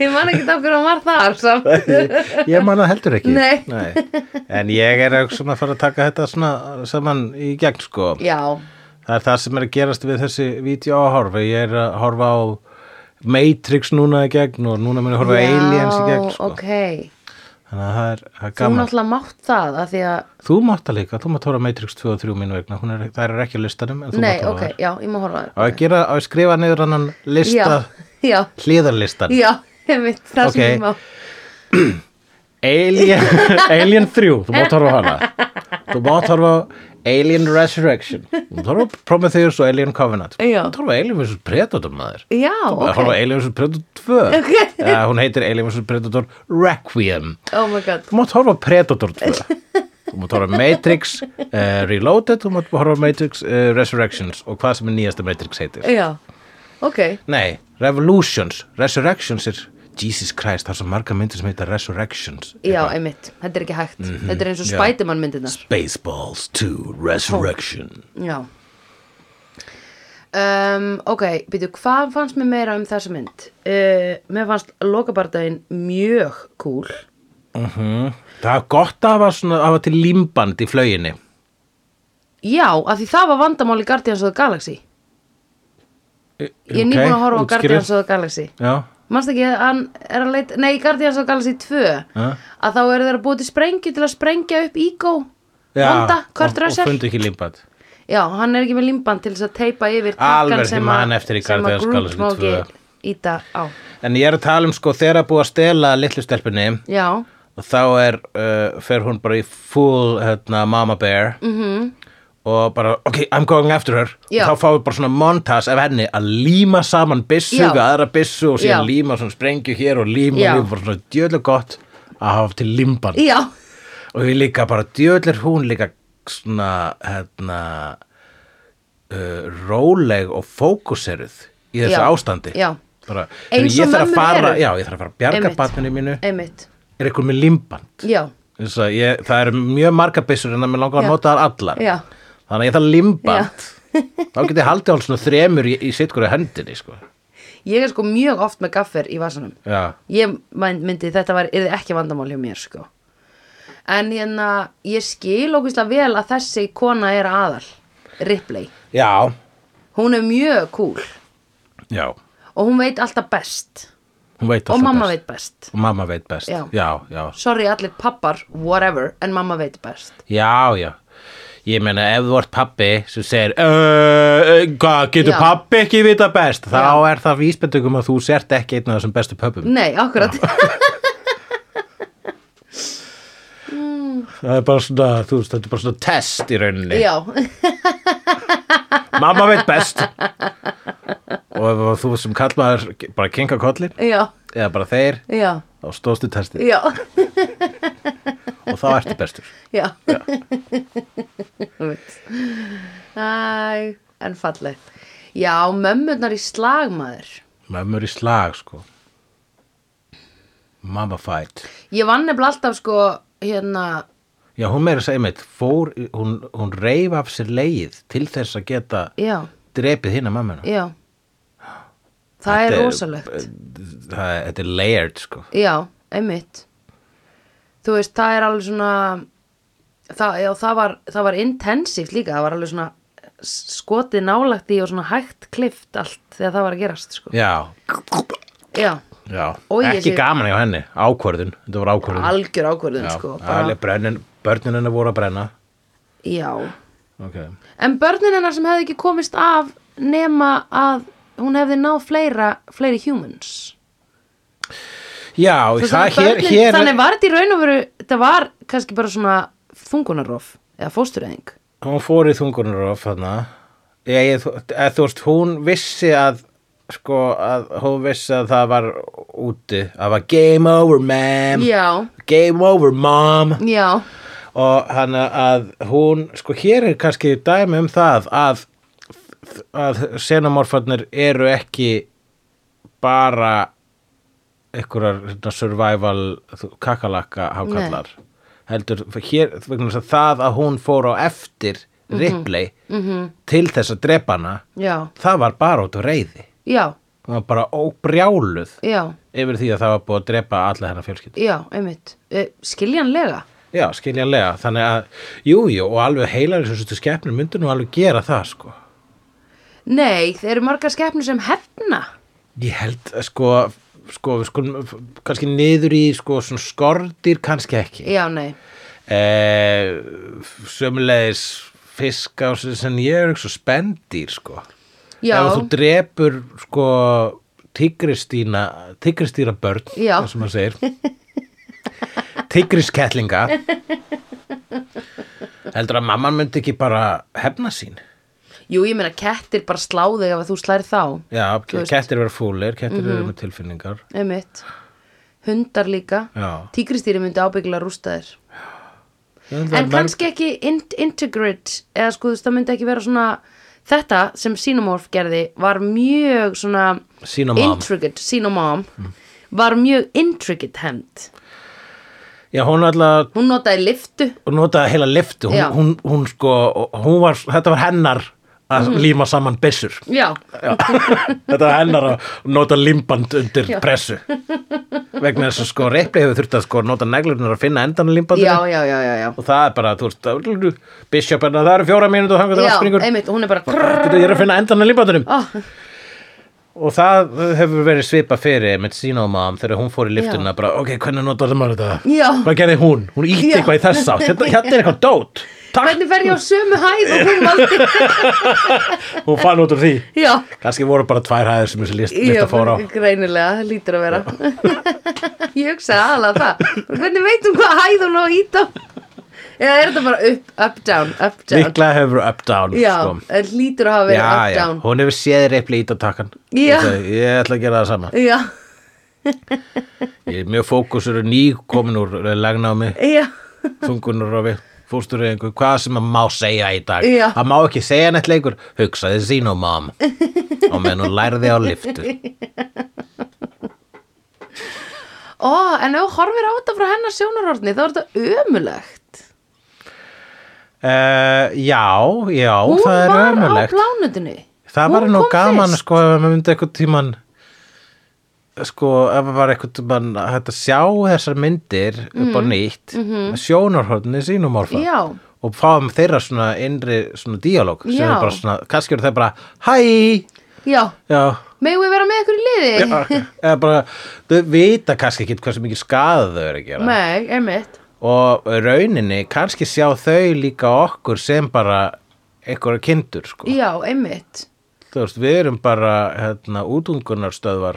S2: Ég man ekki af hverju hann var þar samt.
S1: ég man það heldur ekki
S2: Nei.
S1: en ég er svona að fara að taka þetta svona saman í gegn sko
S2: Já,
S1: það er það sem er að gerast við þessi vídeoáhorf, ég er að horfa á Matrix núna í gegn og núna mun ég horfa á Aliens í gegn sko.
S2: ok
S1: þannig að það er, það er
S2: Þú
S1: gaman
S2: náttúrulega mátt það að því að
S1: þú mátt það líka, þú mátt horfa á Matrix 2 og 3 mínu vegna, Hún er, það er ekki á listanum en þú
S2: Nei,
S1: mátt horfa
S2: ok,
S1: okay.
S2: já, ég má horfa
S1: á að gera, á að skrifa niður annan
S2: það
S1: lista,
S2: Já,
S1: hliðarlistan
S2: já, já, mitt, það
S1: Ok.
S2: sem ég má
S1: Alien, Alien 3, þú mátt horfa á hana þú mátt horfa á Alien Resurrection þú mátt horfa á Prometheus og Alien Covenant þú
S2: Já.
S1: mátt horfa á Alien vs. Predator maður
S2: Já,
S1: þú mátt
S2: ok,
S1: horfa á Alien vs. Predator 2
S2: Ok.
S1: ja, hún heitir Alien vs. Predator Requiem
S2: oh my god
S1: þú mátt horfa á Predator 2 þú mátt horfa á Matrix uh, Reloaded, þú mátt horfa á Matrix uh, Resurrections og hvað sem er nýjasta Matrix heitir
S2: Já, ok
S1: Nei, Revolutions, Resurrections er Jesus Christ, það er svo marga myndir sem heita Resurrections
S2: Já, einmitt, þetta er ekki hægt Þetta er eins og
S1: Mhm. já.
S2: Spiderman myndirnar
S1: Spaceballs 2 Resurrection
S2: Já um, Ok, býtu, hvað fannst mér meira um þessa mynd? Uh, mér fannst lokabardaginn mjög cool
S1: Það er gott að hafa, svona, að hafa til límband í flöginni
S2: Já, af því það var vandamál í Guardians of the Galaxy Ég er nýbúin að horfa á Guardians of the Galaxy
S1: Já,
S2: Manst ekki að hann er að leita Nei, í Guardians of the Galaxy 2
S1: Ja.
S2: Að þá eru þeir að búa til sprengju til að sprengja upp Ego
S1: já
S2: Vonda, Kurt
S1: og, og
S2: Russell
S1: fundu ekki límband
S2: Já, hann er ekki með límband til þess að teipa yfir
S1: Alveg
S2: takkan
S1: sem
S2: að-
S1: hann eftir í
S2: sem að
S1: Guardians of the
S2: Groot
S1: Galaxy
S2: má ekki
S1: 2.
S2: Íta á
S1: En ég er að tala um sko þegar að búa að stela litlu stelpunni
S2: Já,
S1: og þá er, uh, fer hún bara í full hérna, mama bear -hmm. og bara, ok, I'm going after her
S2: Mhm. Já.
S1: og þá fáum við bara svona montas af henni að líma saman byssu
S2: Já.
S1: við aðra byssu og síðan
S2: Já.
S1: líma svona sprengju hér og líma
S2: Já.
S1: og líma bara svona djöðlega gott að hafa til límband
S2: já,
S1: og ég líka bara djöðlir hún líka svona hérna uh, róleg og fókuseruð í þessu
S2: Já,
S1: ástandi
S2: já.
S1: bara,
S2: Eins
S1: ég
S2: og
S1: þarf að
S2: mömmur
S1: fara,
S2: eru.
S1: já, ég þarf að fara að bjarga
S2: Einmitt.
S1: batninu mínu
S2: einmitt
S1: er eitthvað með limband
S2: Já,
S1: ég, það eru mjög marga byssur en að mér langar
S2: Já.
S1: að nota þar allar
S2: Já.
S1: þannig að ég þarf limband þá get ég haldið alls svona þremur í, í sitt hverju hendinni sko.
S2: ég er sko mjög oft með gaffer í vasanum
S1: já,
S2: Ég mæn- myndi þetta var, er ekki vandamál hjá mér sko En hérna, ég skil ókvæslega vel að þessi kona er aðal Ripley
S1: já,
S2: Hún er mjög cool
S1: já.
S2: Og hún veit alltaf best
S1: hún veit
S2: Og
S1: alltaf
S2: mamma
S1: best.
S2: veit best
S1: og mamma veit best
S2: Já.
S1: já, já,
S2: Sorry allir pappar, whatever En mamma veit best
S1: Já, já. Ég meina ef þú ert pappi sem segir "Uh, hvað getur
S2: Já.
S1: pappi ekki vita best þá
S2: Já. Mm.
S1: er það vísbendugum að þú sért ekki einn af þessum bestu pöppum.
S2: Nei, akkurat
S1: Það er bara svona, þú veist, þetta er bara svona test í rauninni.
S2: Já,
S1: Mamma veit best. og ef að þú sem kallmaður bara kinka kolli
S2: já,
S1: eða bara þeir
S2: já,
S1: þá stóðstu testið
S2: já,
S1: og þá ertu bestur.
S2: já Einmitt. Æ, en fallegt Já, mömmurnar í slagmaður
S1: Mömmur í slag, sko. Mamma fight.
S2: Ég vann nefnilega alltaf sko hérna,
S1: Já, hún meira að segja mitt, fór, hún, hún reif af sér leið til þess að geta
S2: já,
S1: drepið hinn að mammuna.
S2: já Það
S1: Þetta
S2: er rosalegt
S1: Það er, þetta er layered, sko.
S2: Já, einmitt Þú veist, það er alveg svona það, já, það, var, það var intensíft líka, það var alveg svona skotið nálægt í og svona hægt klift allt þegar það var að gerast sko.
S1: Já,
S2: Já,
S1: já.
S2: Og ég
S1: Ekki
S2: sé-
S1: gaman hjá henni, ákvörðun, þetta var ákvörðun.
S2: algjör ákvörðun sko, bara,
S1: alveg brennin, börnin hennar voru að brenna.
S2: já
S1: Ok.
S2: En börnin hennar sem hefði ekki komist af nema að hún hefði náð fleira, fleiri humans.
S1: Já,
S2: Þú veist,
S1: það,
S2: þannig
S1: hér,
S2: börnin-
S1: hér,
S2: Þannig var þetta í raun og veru, þetta var kannski bara svona þungunarof eða fóstureyðing.
S1: hún fór í þungunar of þarna. Ég, ég, þú- eða, þú veist, hún vissi að, sko, að hún vissi að það var úti, að það var game over, ma'am.
S2: Já,
S1: Game over, mom.
S2: já,
S1: og hann að hún, sko hér er kannski dæmi um það að að senamorfarnir eru ekki bara einhverjar hérna, survival þú- kakalakka hákallar heldur, hér, vegna þess að það að hún fór á eftir Ripley -hmm. til þess að drepa hana
S2: mhm, Já.
S1: það var bara út á reyði
S2: já,
S1: það var bara óbrjáluð
S2: já,
S1: yfir því að það var búið að drepa alla hennar fjölskyld
S2: já, einmitt uh, skiljanlega
S1: Já, skiljanlega, þannig að jú, jú, og alveg heilar eins og þessu skepnir myndu nú alveg gera það, sko
S2: nei, þeir eru margar skepnur sem hefna
S1: Ég held, að, sko, sko, við skulum f- kannski niður í, sko, svona skordir kannski ekki
S2: já, nei,
S1: eh, Sömulegis fiska og svo sem ég er ekki svo spendir, sko
S2: Já.
S1: Ef þú drepur, sko, tigristína, tigristýra börn
S2: Já.
S1: það sem maður segir Tigrisketlinga Heldur að mamman myndi ekki bara hefna sín
S2: jú, ég meina kettir bara slá þig ef að þú slær þá
S1: Já,
S2: veist. Mhm.
S1: kettir vera fúlir, kettir eru með tilfinningar
S2: einmitt, hundar líka
S1: Já.
S2: tígristýri myndi ábyggilega rústa þér
S1: En
S2: en kannski ekki in integrate eða sko þú veist það myndi ekki vera svona þetta sem Xenomorph gerði var mjög svona
S1: Xenomom.
S2: intricate Xenomom var mjög intricate hemmt
S1: Já, hún alltaf
S2: hún notaði liftu
S1: hún notaði heila liftu hún,
S2: Já.
S1: hún, hún sko, hún var, þetta var hennar að
S2: Mhm.
S1: líma saman byssur
S2: já,
S1: Já. þetta var hennar að nota limband undir
S2: Já.
S1: pressu vegna þess að sko reypli hefur þurft að sko nota neglunar að finna endan á limbandinu
S2: já, já, já, já, já.
S1: og það er bara, þú veist, það- bishop en það eru fjóra mínútur og þangar það
S2: já
S1: áspringur
S2: einmitt, hún er bara
S1: Getur, ég er að finna endan á limbandinum
S2: oh,
S1: og það hefur verið svipa fyrir með Sinomam þegar hún fór í liftuna
S2: Já.
S1: bara, ok, hvernig notaði maður þetta?
S2: Já.
S1: Hvað gerði hún? Hún ítti
S2: Já.
S1: eitthvað í þess átt, hérna, hérna er eitthvað dót Takk,
S2: hvernig fer ég á sömu hæð og hún valdi
S1: hún fann út úr því
S2: já,
S1: kannski voru bara tvær hæðir sem þessi list,
S2: já
S1: lista fór á
S2: greinilega, það lítur að vera ég hugsaði aðalega það Bara, hvernig veit hún hvað hæð hún á að hýta eða er þetta bara upp, up, down, up, down
S1: Líklega hefur up down
S2: Já,
S1: sko.
S2: en hlýtur að hafa verið
S1: já,
S2: up
S1: já,
S2: down
S1: hún hefur séð reypli ít á takkan
S2: Já.
S1: ég ætla að gera það sama
S2: Já,
S1: ég er mjög fókusur og ný komin úr eh, lagnámi,
S2: já,
S1: þungunarofi fóstureyðingu, hvað sem að má segja í dag
S2: Já.
S1: það má ekki segja neitt leikur hugsaði Sinomam og menn hún lærði á liftu
S2: ó, en ef þú horfir á þetta frá hennar sjónarhorni þá er þetta ömulegt
S1: Uh, já, já,
S2: Hún
S1: það er
S2: var á
S1: ömulegt
S2: plánutinu
S1: Það
S2: Hún
S1: var nú
S2: kom
S1: gaman
S2: fyrst.
S1: sko ef maður myndi eitthvað tíman sko ef maður var eitthvað tíman að hægt að sjá þessar myndir upp á nýtt mm -hmm. sjónarhorni sínumorfa
S2: Mhm. Já.
S1: og fáum þeirra svona innri svona díalóg sem
S2: Já.
S1: er bara svona, kannski eru þeir bara hæ,
S2: Já,
S1: já
S2: megum við vera með ykkur í liði
S1: já, eða bara, þau vita kannski ekki hversu mikið skaða þau eru að gera
S2: Nei, einmitt
S1: og rauninni kannski sjá þau líka okkur sem bara einhverja kindur sko
S2: Já, einmitt
S1: þú veist, við erum bara hérna, útungunarstöðvar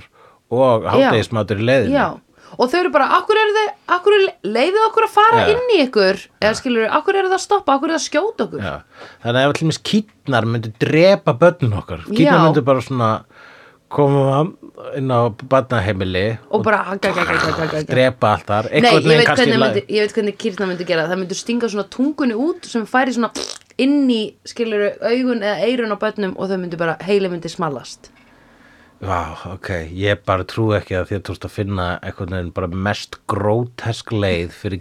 S1: og hátegismatur í leiðinu
S2: Já, og þau eru bara, akkur eru þau, akkur leiðið okkur að fara
S1: Já.
S2: inn í ykkur eða skilur, akkur eru það að stoppa, akkur eru það að skjóta okkur
S1: Já. þannig að ef allir mis kýtnar myndu drepa börnin okkar
S2: Já.
S1: kýtnar myndu bara svona koma inn á barnaheimili
S2: og bara, aga, aga, aga, aga, aga, aga.
S1: drepa allt þar
S2: Nei,
S1: Einhvern
S2: ég
S1: veginn
S2: veit,
S1: kannski
S2: hvernig
S1: la-
S2: myndi, ég veit hvernig kýrna myndi gera það. það myndi stinga svona tungunni út sem færi svona inn í skiluru augun eða eirun á bönnum og þau myndi bara heili myndi smalast
S1: Vá, ok, ég bara trú ekki að þér tókst að finna einhvern veginn bara mest grótesk leið fyrir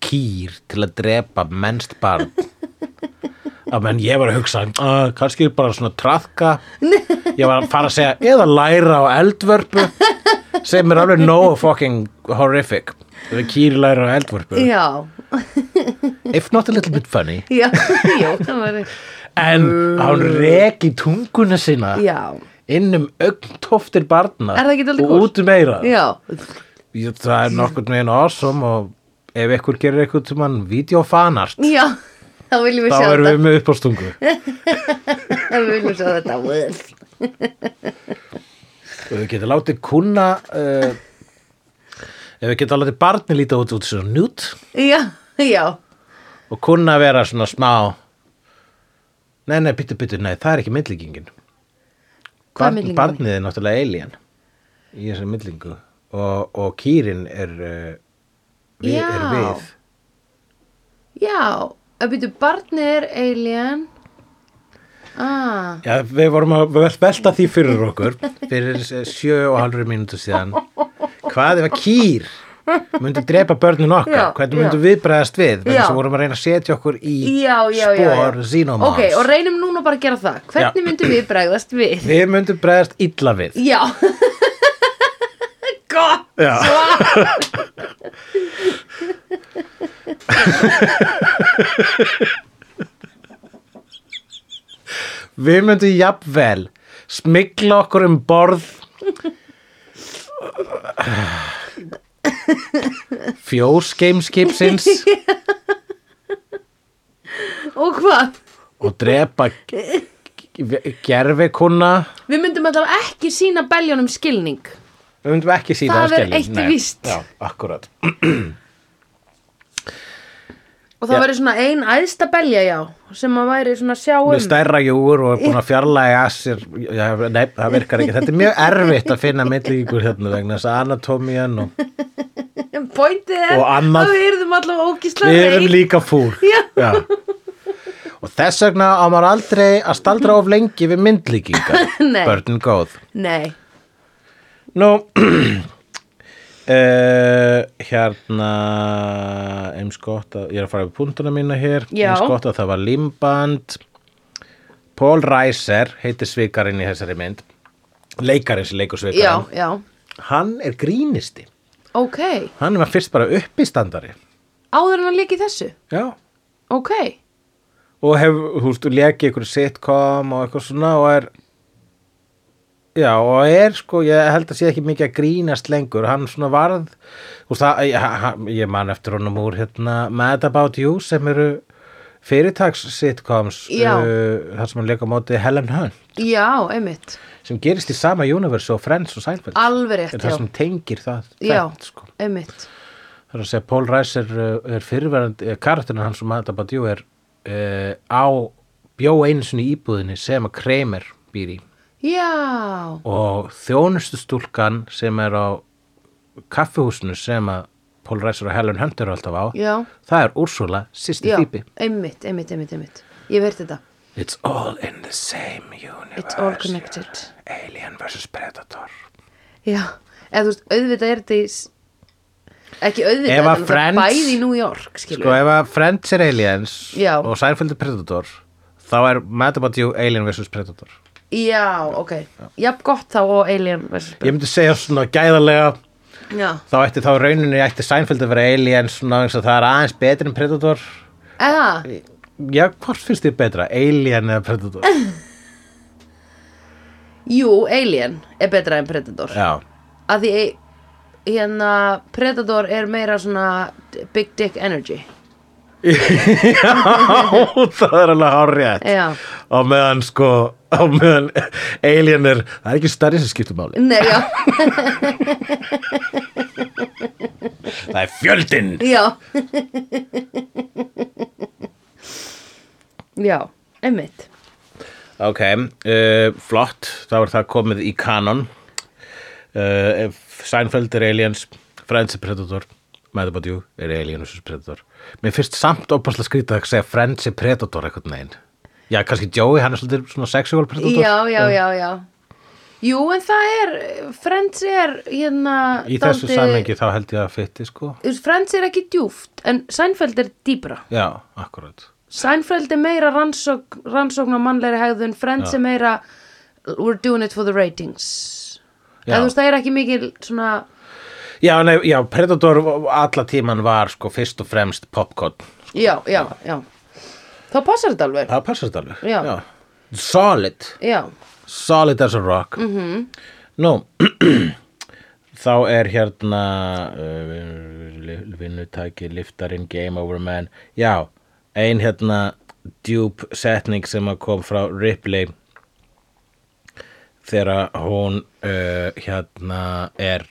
S1: kýr til að drepa mennst barn. Að menn ég var að hugsa, uh, kannski bara svona traðka, ég var að fara að segja, eða læra á eldvörpu, sem er alveg no fucking horrific. Ef kýr læra á eldvörpu,
S2: Já,
S1: if not a little bit funny,
S2: já, já, það var
S1: en hann reki tunguna sína
S2: Já,
S1: inn um augntóftir barna
S2: Er það ekki dálítið
S1: og
S2: kúl?
S1: út um eira.
S2: já,
S1: Jú, það er nokkurn veginn awesome og ef ykkur gerir eitthvað til mann videofanart,
S2: já þá viljum við
S1: þá
S2: sjá
S1: erum
S2: þetta
S1: við með uppástungu
S2: við viljum sjá þetta
S1: og við getum látið kuna uh, ef við getum látið barni líta út út svona njút
S2: Já, já,
S1: og kuna vera svona smá nei, nei, byttu, byttu, nei, það er ekki myndlíkingin
S2: Hvað er myndlíkingin?
S1: Barnið er náttúrulega alien í þessari myndlingu og, og kýrin er uh, við,
S2: Já.
S1: er við
S2: já að byrju barnið er alien ah,
S1: Já, við vorum að vel- velta því fyrir okkur fyrir eh, sjö og halvri mínútu síðan hvað ef að kýr myndi drepa börnin okkar
S2: Já, já.
S1: hvernig myndum við bregðast við
S2: Já.
S1: þess að vorum að reyna að setja okkur í
S2: já, já, já,
S1: spór
S2: já.
S1: xenomans
S2: ok, og reynum núna bara að gera það hvernig
S1: Já.
S2: myndum við bregðast við
S1: við myndum bregðast illa við
S2: já gott
S1: Já.
S2: svar
S1: við myndum jafnvel smikla okkur um borð fjós gameskipsins
S2: og hvað,
S1: og drepa gerfikuna
S2: við myndum allavega ekki sína beljónum skilning
S1: Við myndum ekki sína
S2: Það er eitt víst.
S1: Já, akkurat.
S2: og það
S1: Já.
S2: væri svona ein æðsta belja já sem að væri svona sjá
S1: Með
S2: um
S1: stærra júur og er búin að fjarlæga að sér, já, nei, það virkar ekki. Þetta er mjög erfitt að finna millíkur hérna vegna þess að anatómían og
S2: um pointið er
S1: Og annað-
S2: að við erum allavega ógislega
S1: við erum líka fúl.
S2: Já.
S1: Og þess vegna á maður aldrei að staldra of lengi við myndlíkingar,
S2: Nei.
S1: börnin góð.
S2: nei,
S1: Nú, uh, hérna, eins gott að, ég er að fara við púntuna mína hér,
S2: Já.
S1: eins gott að það var límband, Paul Reiser heitir svikarinn í þessari mynd, leikarinn sem leikur
S2: já,
S1: svikarinn,
S2: já
S1: hann er grínisti,
S2: ok,
S1: hann var fyrst bara uppistandari,
S2: áður en að líka í þessu
S1: já,
S2: ok,
S1: og hef, þú veist, leki ykkur sitcom og eitthvað svona og er já, og er sko, ég held að sé ekki mikið að grínast lengur, hann svona varð þú veist, það, ég, hann- ég man eftir honum úr hérna, Mad About You sem eru fyrirtags sitcoms uh,
S2: Já.
S1: þar sem hann leika á móti Helen Hunt
S2: já, einmitt
S1: sem gerist í sama universe og Friends og Seinfeld
S2: Alveg rétt,
S1: er
S2: já.
S1: það sem tengir það
S2: já,
S1: tvennt, sko.
S2: einmitt
S1: Það er að segja, Paul Reiser uh, er fyrirverandi, eh, karakterinn hans og Mata Badiou er uh, á bjó einu sinni í íbúðinni sem að Kramer býr í
S2: já,
S1: og þjónustustúlkan sem er á kaffihúsinu sem að Paul Reiser og Helen Hunt eru alltaf á
S2: já,
S1: það er Úrsula, sýsti
S2: já
S1: Phoebe
S2: einmitt, einmitt, einmitt, einmitt ég verði þetta,
S1: It's all in the same universe
S2: it's all connected
S1: Alien vs Predator
S2: já, eða þú veist, auðvitað er þetta í s- ekki auðvitað,
S1: Ef
S2: þetta
S1: að
S2: er náttúrulega
S1: Friends-
S2: bæði í New York skilur,
S1: Sko ef að Friends er Aliens
S2: Já.
S1: og Seinfeld er Predator þá er Mata Badiou Alien vs Predator
S2: já, ok, jafn gott þá og Alien versus
S1: Ég myndi segja svona gæðarlega
S2: já,
S1: þá ætti þá rauninni ætti Seinfeld að vera Alien svona eins og það er aðeins betri en Predator
S2: eða
S1: já, hvort finnst þið betra, Alien eða Predator
S2: Jú, Alien er betra en Predator
S1: já,
S2: að því hérna Predator er meira svona big dick energy
S1: það er alveg hárjætt
S2: Já.
S1: á meðan sko á meðan Alien er það er ekki stærri sem skiptir máli,
S2: Nei, já,
S1: það er fjöldin
S2: já Já, einmitt
S1: ok, uh, flott þá er það komið í kanon uh, Seinfeld er Aliens Friends er Predator Mæðabadjú er Alien vs. Predator Mér finnst samt opaslega skrítið að segja Friends er Predator eitthvað neginn Já, kannski Joey, hann er svolítið svona sexual Predator
S2: Já, já, já, já Jú, en það er, Friends er hérna
S1: Í þessu
S2: dálítið-
S1: samhengi þá held ég að fytti sko
S2: Þú veist, Friends er ekki djúft en Seinfeld er dýbra
S1: Já, akkurat
S2: Seinfeld er meira rannsókn, rannsókn á mannlegri hegðun, Friends er meira we're doing it for the ratings eða
S1: Já.
S2: þú veist það er ekki mikil svona
S1: Já, nei, já, Predator alla tíman var sko fyrst og fremst popcorn
S2: já, já, já þá passar þetta alveg
S1: Það passast alveg
S2: Já.
S1: Solid
S2: já,
S1: Solid as a rock mm -hmm.
S2: Mm-hmm.
S1: Nú Þá er hérna uh, vinnutæki, liftarinn, game over man Já, ein hérna djúp setning sem að kom frá Ripley þegar hún uh, hérna er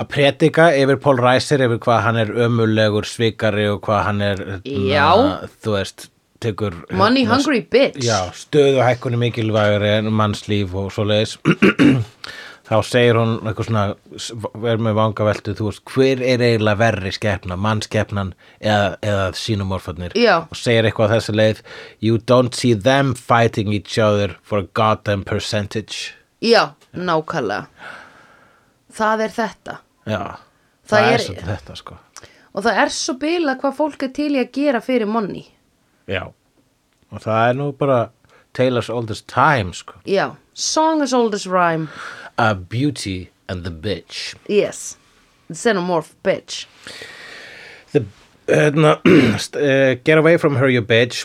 S1: að predika yfir Paul Reiser yfir hvað hann er ömulegur svikari og hvað hann er hérna,
S2: Já.
S1: þú veist, tekur
S2: money
S1: hérna,
S2: hungry bitch
S1: Já, stöðuhækkun er mikilvægur en mannslíf og svoleiðis þá segir hún eitthvað svona, s- er með vanga veltu þú veist, hver er eiginlega verri skepna mannskeppnan eða, eða sínumorfarnir
S2: Já.
S1: og segir eitthvað á þessu leið you don't see them fighting each other for a goddamn percentage
S2: Já, nákvæmlega Það er þetta
S1: já, það,
S2: Það
S1: er,
S2: er-
S1: svolítið þetta sko
S2: Og það er svo bila hvað fólk er til í að gera fyrir money
S1: já, og það er nú bara Taylor's oldest time sko
S2: Já, song is old as rhyme
S1: a beauty and the bitch
S2: Yes, xenomorph bitch
S1: The, hérna, st- eh, get away from her you bitch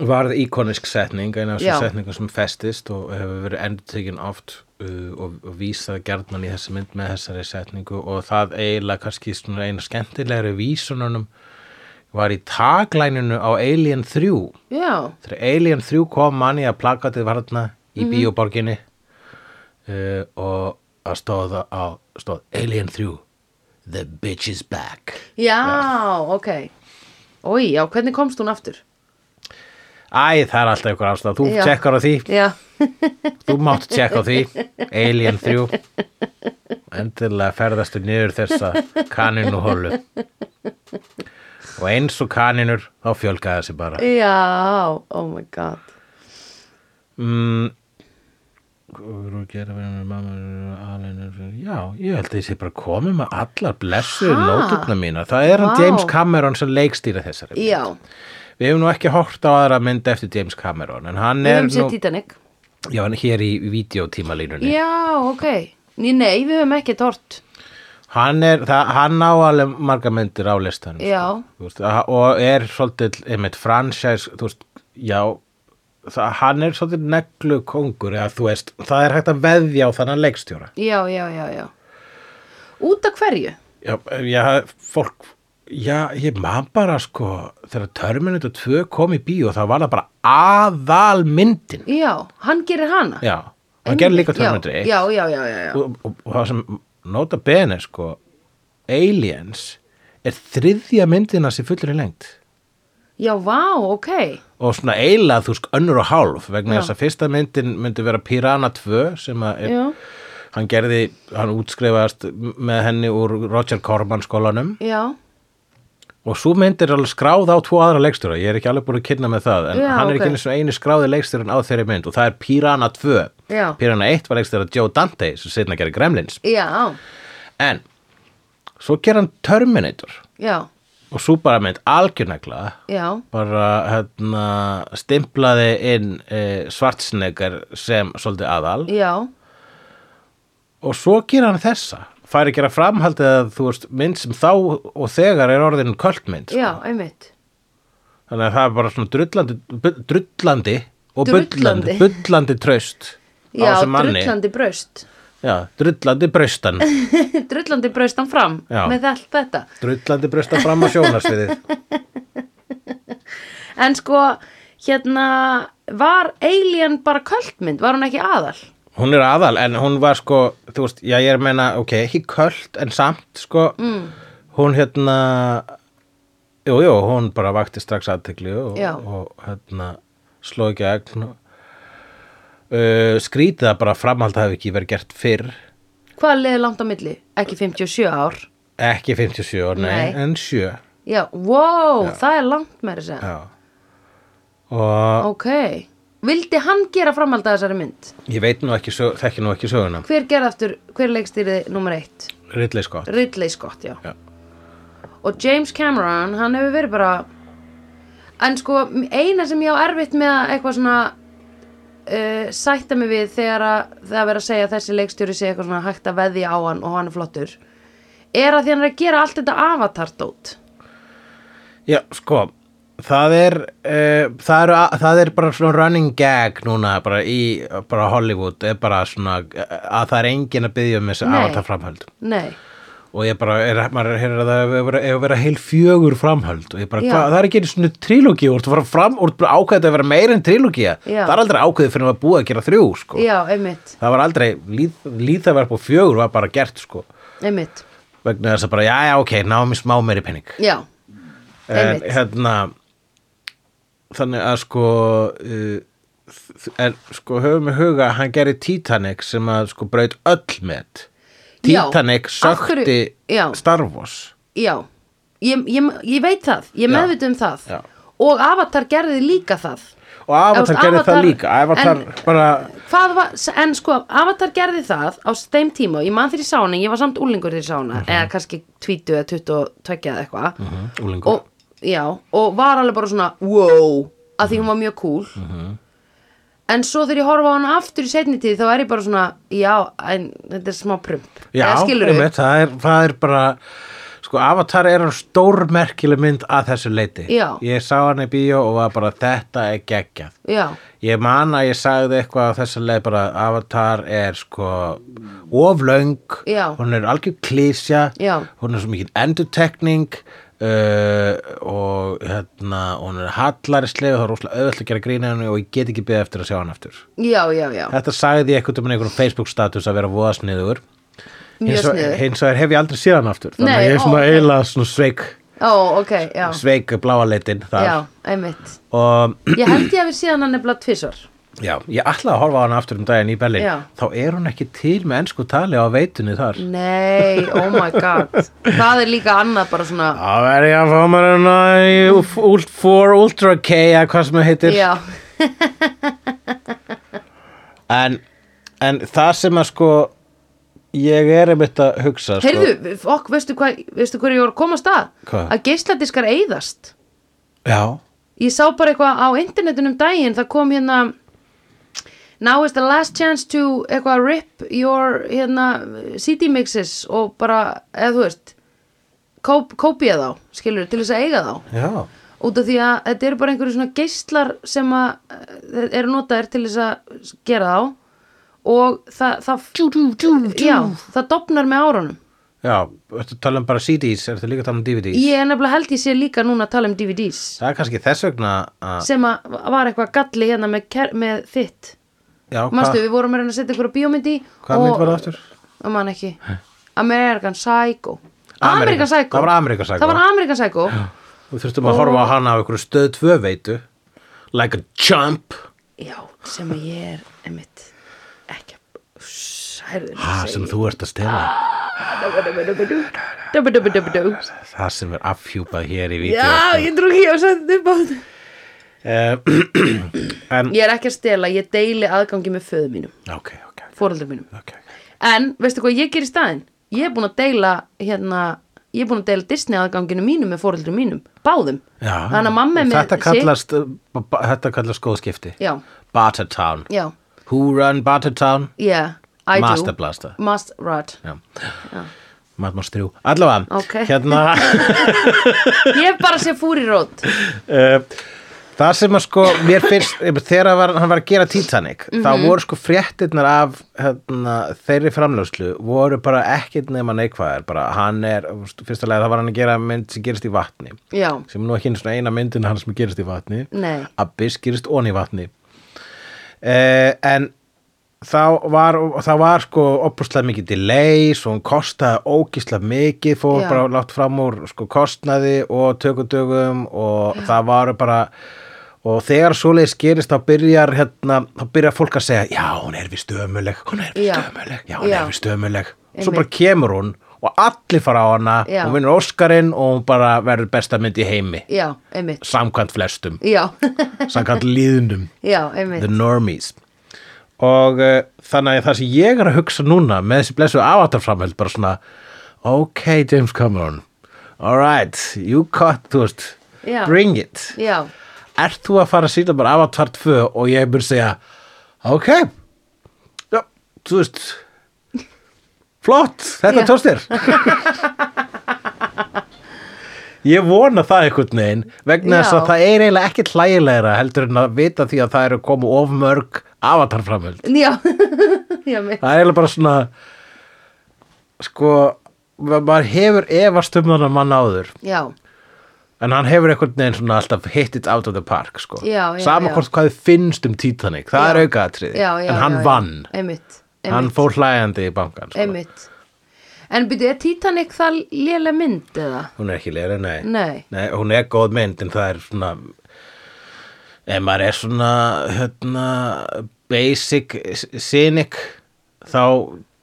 S1: varð íkonisk setning eina af
S2: Já.
S1: þessum setningum sem festist og hefur verið endurtekin oft uh, og, og vísað gerðmann í þessi mynd með þessari setningu og það eiginlega kannski svona eina skemmtilegri vísununum var í taglæninu á Alien 3
S2: Já,
S1: þegar Alien 3 kom manni að plakatið var þarna í bíóborginni uh, og að stóða á stóð Alien 3 The bitch is back
S2: já, ok Ói, já, hvernig komst hún aftur?
S1: Æ, það er alltaf ykkur ástæð, þú
S2: Já.
S1: tjekkar á því,
S2: Já,
S1: þú mátt tjekka á því, Alien 3, endilega ferðastu niður þessa kaninuhólu. Og eins og kaninur, þá fjölgaði þessi bara.
S2: já, oh my god
S1: Mm, hvað verður að gera verið með mamma, alinur, já, ég held að ég sé bara komið með allar blessuðu
S2: Ha?
S1: nóturna mína. Það er hann
S2: Vá.
S1: James Cameron sem leikstýra þessari. mynd.
S2: Já,
S1: Við hefum nú ekki hort á aðra mynd eftir James Cameron, en hann
S2: við
S1: er
S2: höfum sér
S1: nú,
S2: Titanic
S1: já, hann er hér í videótímalínunni.
S2: Já, ok Ný, nei, við höfum ekki tort
S1: Hann, er, það, hann á alveg marga myndir á listanum
S2: Já.
S1: sko, Þú veist, að- og er svolítið einmitt franchise þú veist, já það, hann er svolítið neglu kongur eða, þú veist, það er hægt að veðja á þannan leikstjóra
S2: Já, já, já, já Út af hverju?
S1: já, já, fólk já, ég man bara sko þegar Terminator 2 kom í bíó þá var það bara aðal myndin
S2: Já, hann gerir hana
S1: já, hann gerði
S2: Já,
S1: líka Terminator 1
S2: Já, já, já, já, já.
S1: og, og, og það sem nota bene sko Aliens er þriðja myndina sem fullur í lengt
S2: já, vá, ok
S1: og svona eila þú sko önnur og hálf vegna
S2: Já.
S1: þess að fyrsta myndin myndi vera Piranha 2 sem að er,
S2: Já,
S1: hann gerði, hann útskrifaðast með henni úr Roger Corman skólanum
S2: já,
S1: og svo mynd er alveg skráð á tvo aðra leikstjóra ég er ekki alveg búin að kynna með það en
S2: Já,
S1: hann er
S2: ok.
S1: ekki einu, svona einu skráði leikstjóran á þeirri mynd og það er Piranha 2
S2: Já.
S1: Piranha 1 var leikstjóra Joe Dante sem setna gerði Gremlins
S2: já,
S1: en svo ger hann Terminator
S2: já,
S1: og svo bara mynd algjörnægla
S2: já
S1: bara hérna, stimplaði inn e, svartsnegar sem svolítið aðal
S2: Já,
S1: og svo gera hann þessa fær að gera framhaldið að þú veist mynd sem þá og þegar er orðin kvöldmynd
S2: já, einmitt
S1: þannig að það er bara svona drullandi, bu- drullandi og bullandi,
S2: Drullandi.
S1: bullandi traust á
S2: Já,
S1: þessum manni
S2: drullandi braust
S1: Já, drullandi braustan
S2: Drullandi braustan fram
S1: Já.
S2: með allt þetta
S1: drullandi braustan fram á sjónarsviðið
S2: En sko, hérna Var Alien bara kvöldmynd? Var hún ekki aðal?
S1: Hún er aðal, en hún var sko, þú veist, já ég er að meina, ok, ekki köld, en samt, sko, mm. hún hérna, jú, jú, hún bara vakti strax aðtekli og,
S2: Já.
S1: og hérna, sló ekki egn og uh, skrítið að bara framhald hafi ekki verið gert fyrr,
S2: Hvað leiði langt á milli? Ekki 57 ár
S1: ekki 57 ár, nei,
S2: Nei.
S1: en 7,
S2: Já, wow, það er langt meira sér
S1: já. Og
S2: Ok, vildi hann gera framhald að þessari mynd?
S1: ég veit nú ekki, sög, þekki nú ekki söguna,
S2: Hver gerði aftur, hver leikstýriði nummer eitt?
S1: Ridley sko. Scott.
S2: Ridley Scott, já.
S1: Já.
S2: Og James Cameron, hann hefur verið bara En sko, eina sem ég á erfitt með að eitthvað svona uh, sætta mig við þegar að það verið að segja að þessi leikstjóri sé eitthvað svona hægt að veðja á hann og hann er flottur er að því hann er að gera allt þetta avatar-dót
S1: Já, sko, það er, uh, það, er það er bara svona running gag núna bara í bara Hollywood er bara svona eh, að það er enginn að byggja um þessi
S2: Nei.
S1: avatar framhöld
S2: Nei,
S1: og ég bara, er, maður er að það hefur verið- hefur verið heil fjögur framhöld og ég bara,
S2: Já.
S1: hvað, það er ekki einu svona trilógi og þú fara fram, og þú ákveðið að vera meira en trilógi
S2: Já.
S1: það er aldrei ákveðið fyrir að búa að gera þrjú, sko
S2: já, einmitt,
S1: það var aldrei, líð, líðaverf og fjögur var bara gert, sko
S2: einmitt
S1: vegna þess að bara, já, já, ok, náum í smá meiri penning
S2: Já,
S1: en
S2: Einmitt.
S1: hérna þannig að sko uh, er, sko, höfum við huga að hann gerði Titanic sem að sko braut öll met
S2: Já,
S1: Titanic
S2: af hverju-
S1: sökti
S2: já.
S1: Star Wars
S2: Já, ég, ég, ég veit það, ég er
S1: Já.
S2: meðvitið um það
S1: Já.
S2: og Avatar gerði líka það
S1: og Avatar
S2: veist,
S1: gerði
S2: Avatar-
S1: það líka Avatar
S2: en-
S1: bara,
S2: Hvað var, en sko, Avatar gerði það á þeim tíma og ég man þegar ég sá hana, ég var samt úlingur þegar ég sá hana,
S1: Mhm.
S2: eða kannski 20 eða 22 eða eitthvað
S1: úlingur
S2: og, já, og var alveg bara svona, wow, að því hún var mjög cool
S1: Mhm.
S2: En svo þegar ég horfa á hana aftur í seinni tíð þá er ég bara svona, já, en þetta er smá prump
S1: já,
S2: Eða skilurðu?
S1: einmitt, það, er, það er bara sko Avatar er hann stórmerkileg mynd að þessu leiti
S2: Já.
S1: ég sá hann í bíó og var bara þetta er geggjað
S2: Já,
S1: ég man að ég sagði eitthvað á þessa leið bara að Avatar er sko oflöng,
S2: Já.
S1: hún er algjör klísja,
S2: Já.
S1: hún er svo mikið endurtekning uh, og hérna hún er hallari slefi, það er rosalega auðvöld að gera grína henni og ég get ekki beðið eftir að sjá hann aftur
S2: já, já, já,
S1: þetta sagði ég eitthvað um einhverjum Facebook status að vera voðasniður
S2: mjög sniður
S1: hins vegar hef ég aldrei séð hann aftur þannig
S2: Nei,
S1: að ég er
S2: ó,
S1: svona
S2: ok.
S1: eiginlega svona sveik
S2: Ó, ok, já,
S1: sveik bláa leitin þar
S2: já, einmitt
S1: og
S2: Ég held ég að við síðan hann nefnilega tvisvar
S1: Já, ég ætlaði að horfa á hana aftur um daginn í Berlín
S2: Já.
S1: þá er hún ekki til með ennsku tali á veitunni þar
S2: Nei, oh my god Það er líka annað bara svona
S1: Það verði ég að fá mér hana í Uf- Ult- 4 Ultra K eða hvað sem það heitir
S2: Já,
S1: en, en það sem að sko ég er einmitt að hugsa sko,
S2: heyrðu, fokk, veistu hvað veistu hvað ég voru að koma að stað?
S1: Hvað?
S2: Að geisladiskar eyðast
S1: Já,
S2: Ég sá bara eitthvað á internetunum daginn það kom hérna Now is the last chance to eitthvað rip your hérna, CD mixes og bara, eða þú veist kóp, kópja þá, skilur til þess að eiga þá
S1: já,
S2: út af því að þetta eru bara einhverju svona geislar sem að eh, eru notaðir til þess að gera þá og það, það djú, djú, djú, djú. Já, það dopnar með árunum
S1: já Þetta tala um bara CDs, er þetta líka að tala um DVDs
S2: ég er nefnilega held ég sé líka núna að tala um DVDs
S1: Það er kannski þess vegna að
S2: sem að var eitthvað galli hérna með, ker, með þitt
S1: Já, hvað
S2: Manstu, við vorum að reyna að setja einhverja bíómyndi
S1: hva mynd var það aftur?
S2: Ég man ekki American Psycho
S1: American-
S2: American Psycho
S1: það var American Psycho.
S2: Það var American Psycho
S1: Við þurftum að horfa á hana á einhverju stöð 2 veitu Like a jump
S2: Já, sem að ég er einmitt ekki að særður
S1: ha, Ah, sem þú ert að stela
S2: Dubba-dubba-dubba-dú.
S1: Það sem er afhjúpað hér í vídeo
S2: Já, ég trú ekki að setja þetta upp á þetta
S1: Eh, en,
S2: Ég er ekki að stela, ég deili aðgangi með föðu mínum,
S1: ok, ok,
S2: fóreldur mínum
S1: ok.
S2: En, veistu hvað ég ger í staðinn? Ég er búin að deila, hérna Ég er búin að deila Disney aðganginu mínum með fóreldur mínum, báðum
S1: Já,
S2: Þannig að mamma er með
S1: þetta
S2: sitt-
S1: kallast, uh, ba- þetta kallast góð skipti.
S2: Já,
S1: Bartertown.
S2: já,
S1: Who run Bartertown?
S2: yeah, I do
S1: Master Blaster.
S2: Master, right
S1: Já. Matmars 3. Allavega,
S2: Ok.
S1: hérna,
S2: Ég hef bara sé fúri rót
S1: uh, það sem að sko, mér fyrst, þegar hann var, hann var að gera Titanic,
S2: Mhm.
S1: þá voru sko fréttirnar af hérna, þeirri framljóðslu, voru bara ekkit nema neikvæðar, bara hann er, fyrsta lega það var hann að gera mynd sem gerist í vatni.
S2: Já,
S1: sem er nú ekki einu svona eina myndin hans sem gerist í vatni
S2: Nei.
S1: Abyss gerist ón í vatni eh, en þá var, þá var sko opuslega mikið delay svo hún kostaði ógislega mikið fór
S2: Já.
S1: bara látt fram úr sko kostnaði og tökudögum og það var bara og þegar svoleiðis gerist þá byrjar hérna, þá byrjar fólk að segja já hún er við stömuleg, hún er við
S2: Já.
S1: stömuleg já hún
S2: Já.
S1: er við stömuleg svo
S2: Einmitt.
S1: bara kemur hún og allir fara á hana
S2: Já.
S1: hún vinnur Óskarinn og hún bara verður besta mynd í heimi
S2: já, einmitt
S1: samkvæmt flestum,
S2: Já,
S1: samkvæmt líðundum
S2: já,
S1: the
S2: einmitt
S1: normies og uh, þannig að það sem ég er að hugsa núna með þessi blessu avatarframheld bara svona, ok James Cameron alright, you cut, þú veist
S2: Já.
S1: bring it
S2: Já,
S1: ert þú að fara að sína bara Avatar 2 og ég mun segja ok já, þú veist flott, þetta
S2: Já.
S1: tókst þér ég vona það einhvern veginn vegna þess
S2: Já.
S1: að það er eiginlega ekki hlægilegra heldur en að vita því að það eru komu of mörg Avatar framöld
S2: já, já, einmitt
S1: það er eiginlega bara svona sko ma- maður hefur efast um þannig mann áður
S2: Já,
S1: En hann hefur einhvern veginn svona alltaf hit it out of the park sko.
S2: Já, já,
S1: Sama
S2: já.
S1: hvort hvað þið finnst um Titanic, það
S2: Já.
S1: er aukaðatriði.
S2: já, já,
S1: En hann
S2: já, já.
S1: vann,
S2: einmitt, einmitt,
S1: hann fór hlæjandi í bankan sko.
S2: einmitt. En byrju, er Titanic það lélega mynd eða?
S1: Hún er ekki leira, nei.
S2: Nei.
S1: Hún er góð mynd en það er svona ef maður er svona hérna, basic s- cynic þá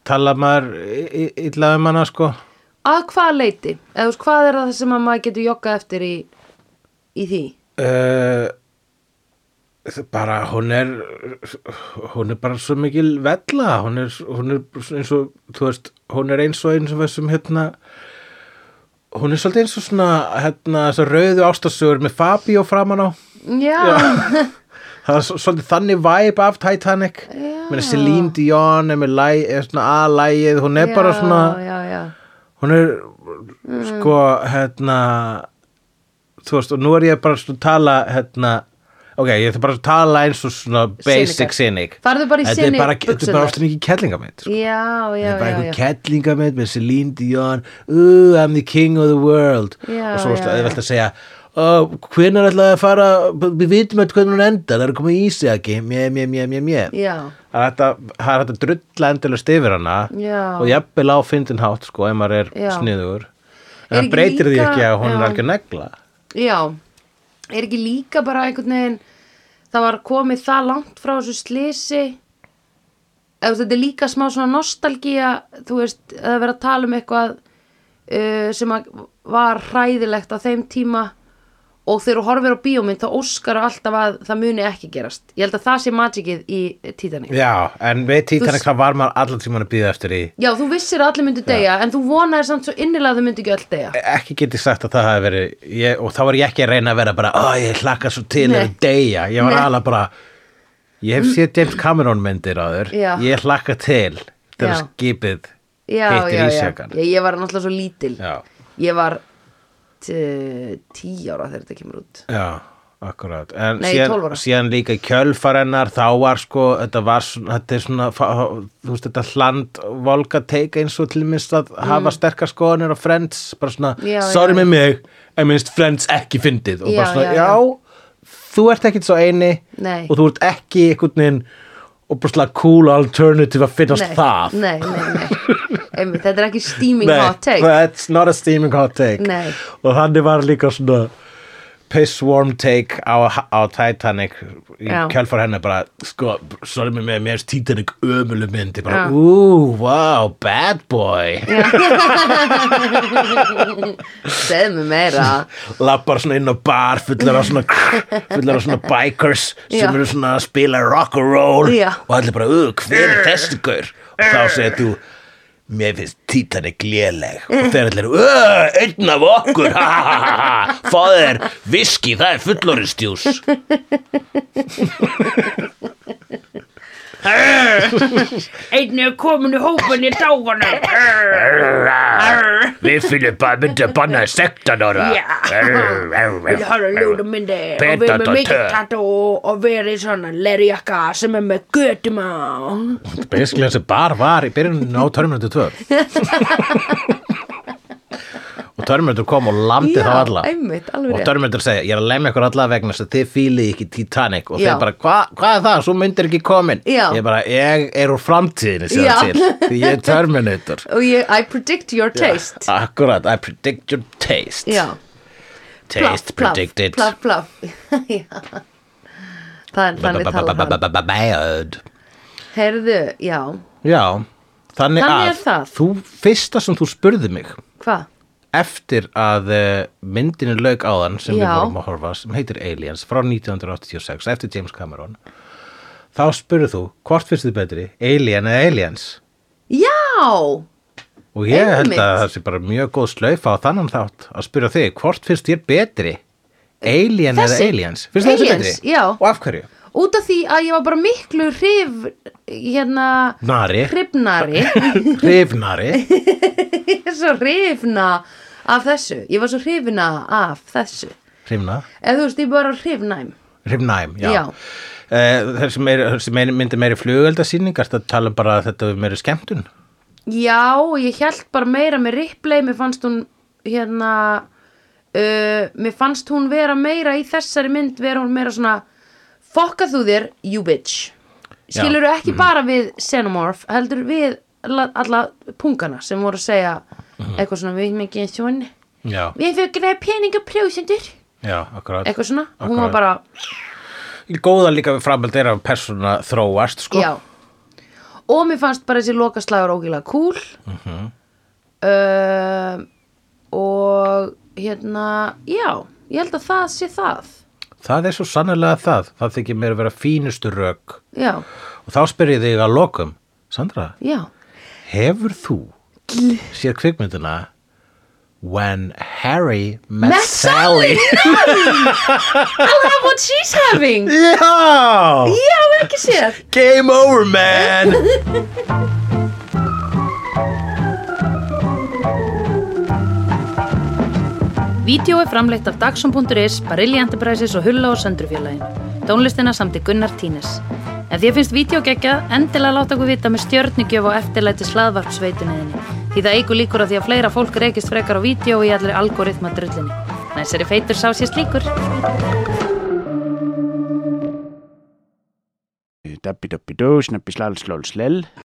S1: tala maður y- y- illa um hana sko
S2: Að hvað leiti? Eða þú veist, hvað er það sem að maður getur joggað eftir í, í því?
S1: uh, bara hún er hún er bara svo mikil vella hún er, hún er eins og þú veist, hún er eins og eins og þessum hérna hún er svolítið eins og svona hérna, þessar rauðu ástasögur með Fabio framan á
S2: Já,
S1: það er svo- svolítið þannig væp af Titanic
S2: Já.
S1: Meina, Celine Dion er með læg, er svona aðlægið hún er bara
S2: já,
S1: svona
S2: Já, já,
S1: hún er
S2: Mm.
S1: sko hérna þú veist og nú er ég bara svona að tala hérna ok, ég ætla bara að tala eins og svona basic
S2: Cynic.
S1: cynic
S2: Farðu bara í
S1: Þetta er
S2: cynic
S1: bara- þetta er
S2: buxurnar.
S1: bara ofta ekki kellingamit sko.
S2: já, já,
S1: þetta er bara
S2: já,
S1: einhver
S2: já.
S1: kellingamit með Celine Dion ooh, I'm the king of the world
S2: Já,
S1: og svo
S2: já,
S1: er
S2: já.
S1: velt að segja Oh, hvenær ætlaði að fara við vitum eitthvað hvernig hún endar, það er að koma í ísjaki mjö, mjö, mjö, mjö, mjö
S2: Já,
S1: Það er þetta- það er hægt að drulla endilast yfir hana
S2: Já.
S1: og jafnvel á fyndin hátt sko ef maður er
S2: Já. Er
S1: sniður en það
S2: ekki
S1: breytir því
S2: líka-
S1: ekki að hún er
S2: já.
S1: algjör negla
S2: já. Er ekki líka bara einhvern veginn, það var komið það langt frá þessu slisi, eða þú veist, þetta er líka smá svona nostalgía, þú veist, að það vera að tala um eitthvað uh, sem að var hræðilegt á þeim tíma og þegar þú horfir á bíómynd þá óskar alltaf að það muni ekki gerast. Ég held að það sé magicið í Titanic.
S1: Já, en við Titanic
S2: Þú-
S1: það var maður allan tímann að býða eftir í
S2: Já, þú vissir að allir myndu deyja, en þú vonaðir samt svo innilega að þau myndu ekki öll deyja.
S1: ekki geti sagt að það hafi verið ég, og þá var ég ekki að reyna að vera bara ó, ég hlakka svo til
S2: Nei.
S1: að deyja ég var
S2: Nei.
S1: alveg bara ég hef séð James Cameron myndir á þur
S2: Já.
S1: ég hlakka til
S2: Já.
S1: þegar skipið
S2: Já, já,
S1: hittir
S2: já.
S1: ísjakan
S2: Ég, ég var náttúrulega svo lítil.
S1: Já.
S2: Ég var t- tíu ára þegar þetta kemur út.
S1: Já, akkurát en
S2: Nei, 12
S1: síðan,
S2: ára.
S1: síðan líka í kjölfarennar þá var sko, þetta var svona þetta er svona, fa- þú veist þetta hland volga teika eins og til minnst að hafa sterkar skoðanir og friends bara svona,
S2: Mm. Já,
S1: sorry
S2: já.
S1: með mig en minnst friends ekki fyndið og
S2: Já,
S1: bara
S2: já,
S1: svona, já, þú ert ekkit svo eini
S2: Nei.
S1: og þú ert ekki einhvern veginn og bara svona cool alternative að finnast
S2: Nei,
S1: það
S2: Nei, nei, nei. Einmitt, þetta er ekki steaming
S1: Nei,
S2: hot take.
S1: That's not a steaming hot take
S2: Nei.
S1: Og þannig var líka svona piss warm take á, á Titanic í
S2: Já.
S1: kjálfar hennar bara sko, sorry mig með mér er Titanic ömulu myndi bara,
S2: Já.
S1: ú, wow, bad boy
S2: Segðu mér meira.
S1: lappar svona inn á bar fullar á svona, fullar á svona bikers sem
S2: Já.
S1: eru svona að spila rock'n'roll
S2: Já.
S1: og allir bara, uh, hver er þessi gaur og þá segir þú mér finnst Titanic léleg og þeir allir, uh, einn af okkur ha, ha, ha, ha, ha, fáðu þér viski, það er fulloristjús
S3: Einn er komin í hópin í dáfanum.
S1: við finnum bara myndið að banna 16 ára
S3: Já. Við horfum ljóðum myndi og við með mikið tattoo og við erum í svona lerjakka sem er með götum á.
S1: Basically þessi bar var í byrjunum á Terminator 2 og Terminator kom og landi
S2: Já,
S1: þá alla
S2: einmitt, alveg
S1: og
S2: rétt.
S1: Terminator segja, ég er að lemja ykkur alla vegna þess að þið fílið ekki Titanic og
S2: Já.
S1: þeir bara, "Hva- hvað er það, svo myndir ekki komin
S2: Já.
S1: ég bara, ég er úr framtíðinni sér
S2: Já.
S1: til, því ég er Terminator
S2: Og ég, I predict your taste.
S1: akkurat, I predict your taste
S2: Já.
S1: taste
S2: Plaff, plaff,
S1: predicted
S2: Plaff, plaff. Já. Það er þannig talað hann.
S1: Bad.
S2: Heyrðu, já.
S1: já,
S2: Þannig
S1: þannig
S2: er
S1: að
S2: það.
S1: þú fyrsta sem þú spurði mig
S2: Hvað?
S1: eftir að eh, myndinu lauk áðan sem við
S2: Já.
S1: vorum að horfa sem heitir Aliens frá 1986 eftir James Cameron þá spurðu þú hvort finnst þið betri Alien eða Aliens
S2: Já!
S1: og ég held að
S2: Einmitt.
S1: það sé bara mjög góð slaufa á þannan þátt að spyrja þig hvort finnst þér betri Alien
S2: Þessi?
S1: eða Aliens finnst þér þessi betri?
S2: Aliens, já.
S1: og af hverju?
S2: Út af því að ég var bara miklu hrif, hérna,
S1: Nari,
S2: hrifnari,
S1: hrifnari
S2: ég er svo hrifna af þessu, ég var svo hrifna af þessu.
S1: hrifna
S2: Eða þú veist, ég bara hrifnæm.
S1: Hrifnæm, já.
S2: Já.
S1: já. þeir sem, er, þeir sem er, myndir meiri flugeldasýningar, það tala um bara að þetta er meiri skemmtun.
S2: Já, ég held bara meira með Ripley, mér fannst hún, hérna, uh, mér fannst hún vera meira í þessari mynd, vera hún meira svona, fokka þú þér, you bitch.
S1: Já.
S2: Skilur ekki bara við Xenomorph, heldur við alla, alla pungana sem voru að segja eitthvað svona, við erum ekki eins og henni.
S1: Já,
S2: Við fyrir greiða peninga prjóðsendur
S1: já, akkurat.
S2: Eitthvað svona, hún var bara
S1: Akkurat. góða líka við framöld er að persóna þróast sko.
S2: Já Og mér fannst bara þessi lokaslagur ógilega cool mm Og hérna, já, ég held að það sé það
S1: það er svo sannlega það það þykir mér að vera fínustu rök
S2: Já,
S1: og þá spyr ég þig að lokum Sandra,
S2: já
S1: hefur þú sér kvikmyndina When Harry Met,
S2: Met
S1: Sally,
S2: I'll have what she's having
S1: Já!
S2: Já, ekki séð
S1: Game over man
S2: Vídeó er framleitt af Dagsum.is, Barilli Enterprises og Hulla og Söndrufjörlægin. Tónlistina samti Gunnar Tínes. Ef þér finnst vídeo geggjað, endilega láta okkur vita með stjörnigjöf og eftirlæti slaðvarpsveituninni. Því það eigur líkur að því að fleira fólk reykist frekar á vídeo og í allri algoritma drullinni. Næsari feitur sá sér slíkur.
S4: Dabbi dabbi dó, snabbi slal slól slell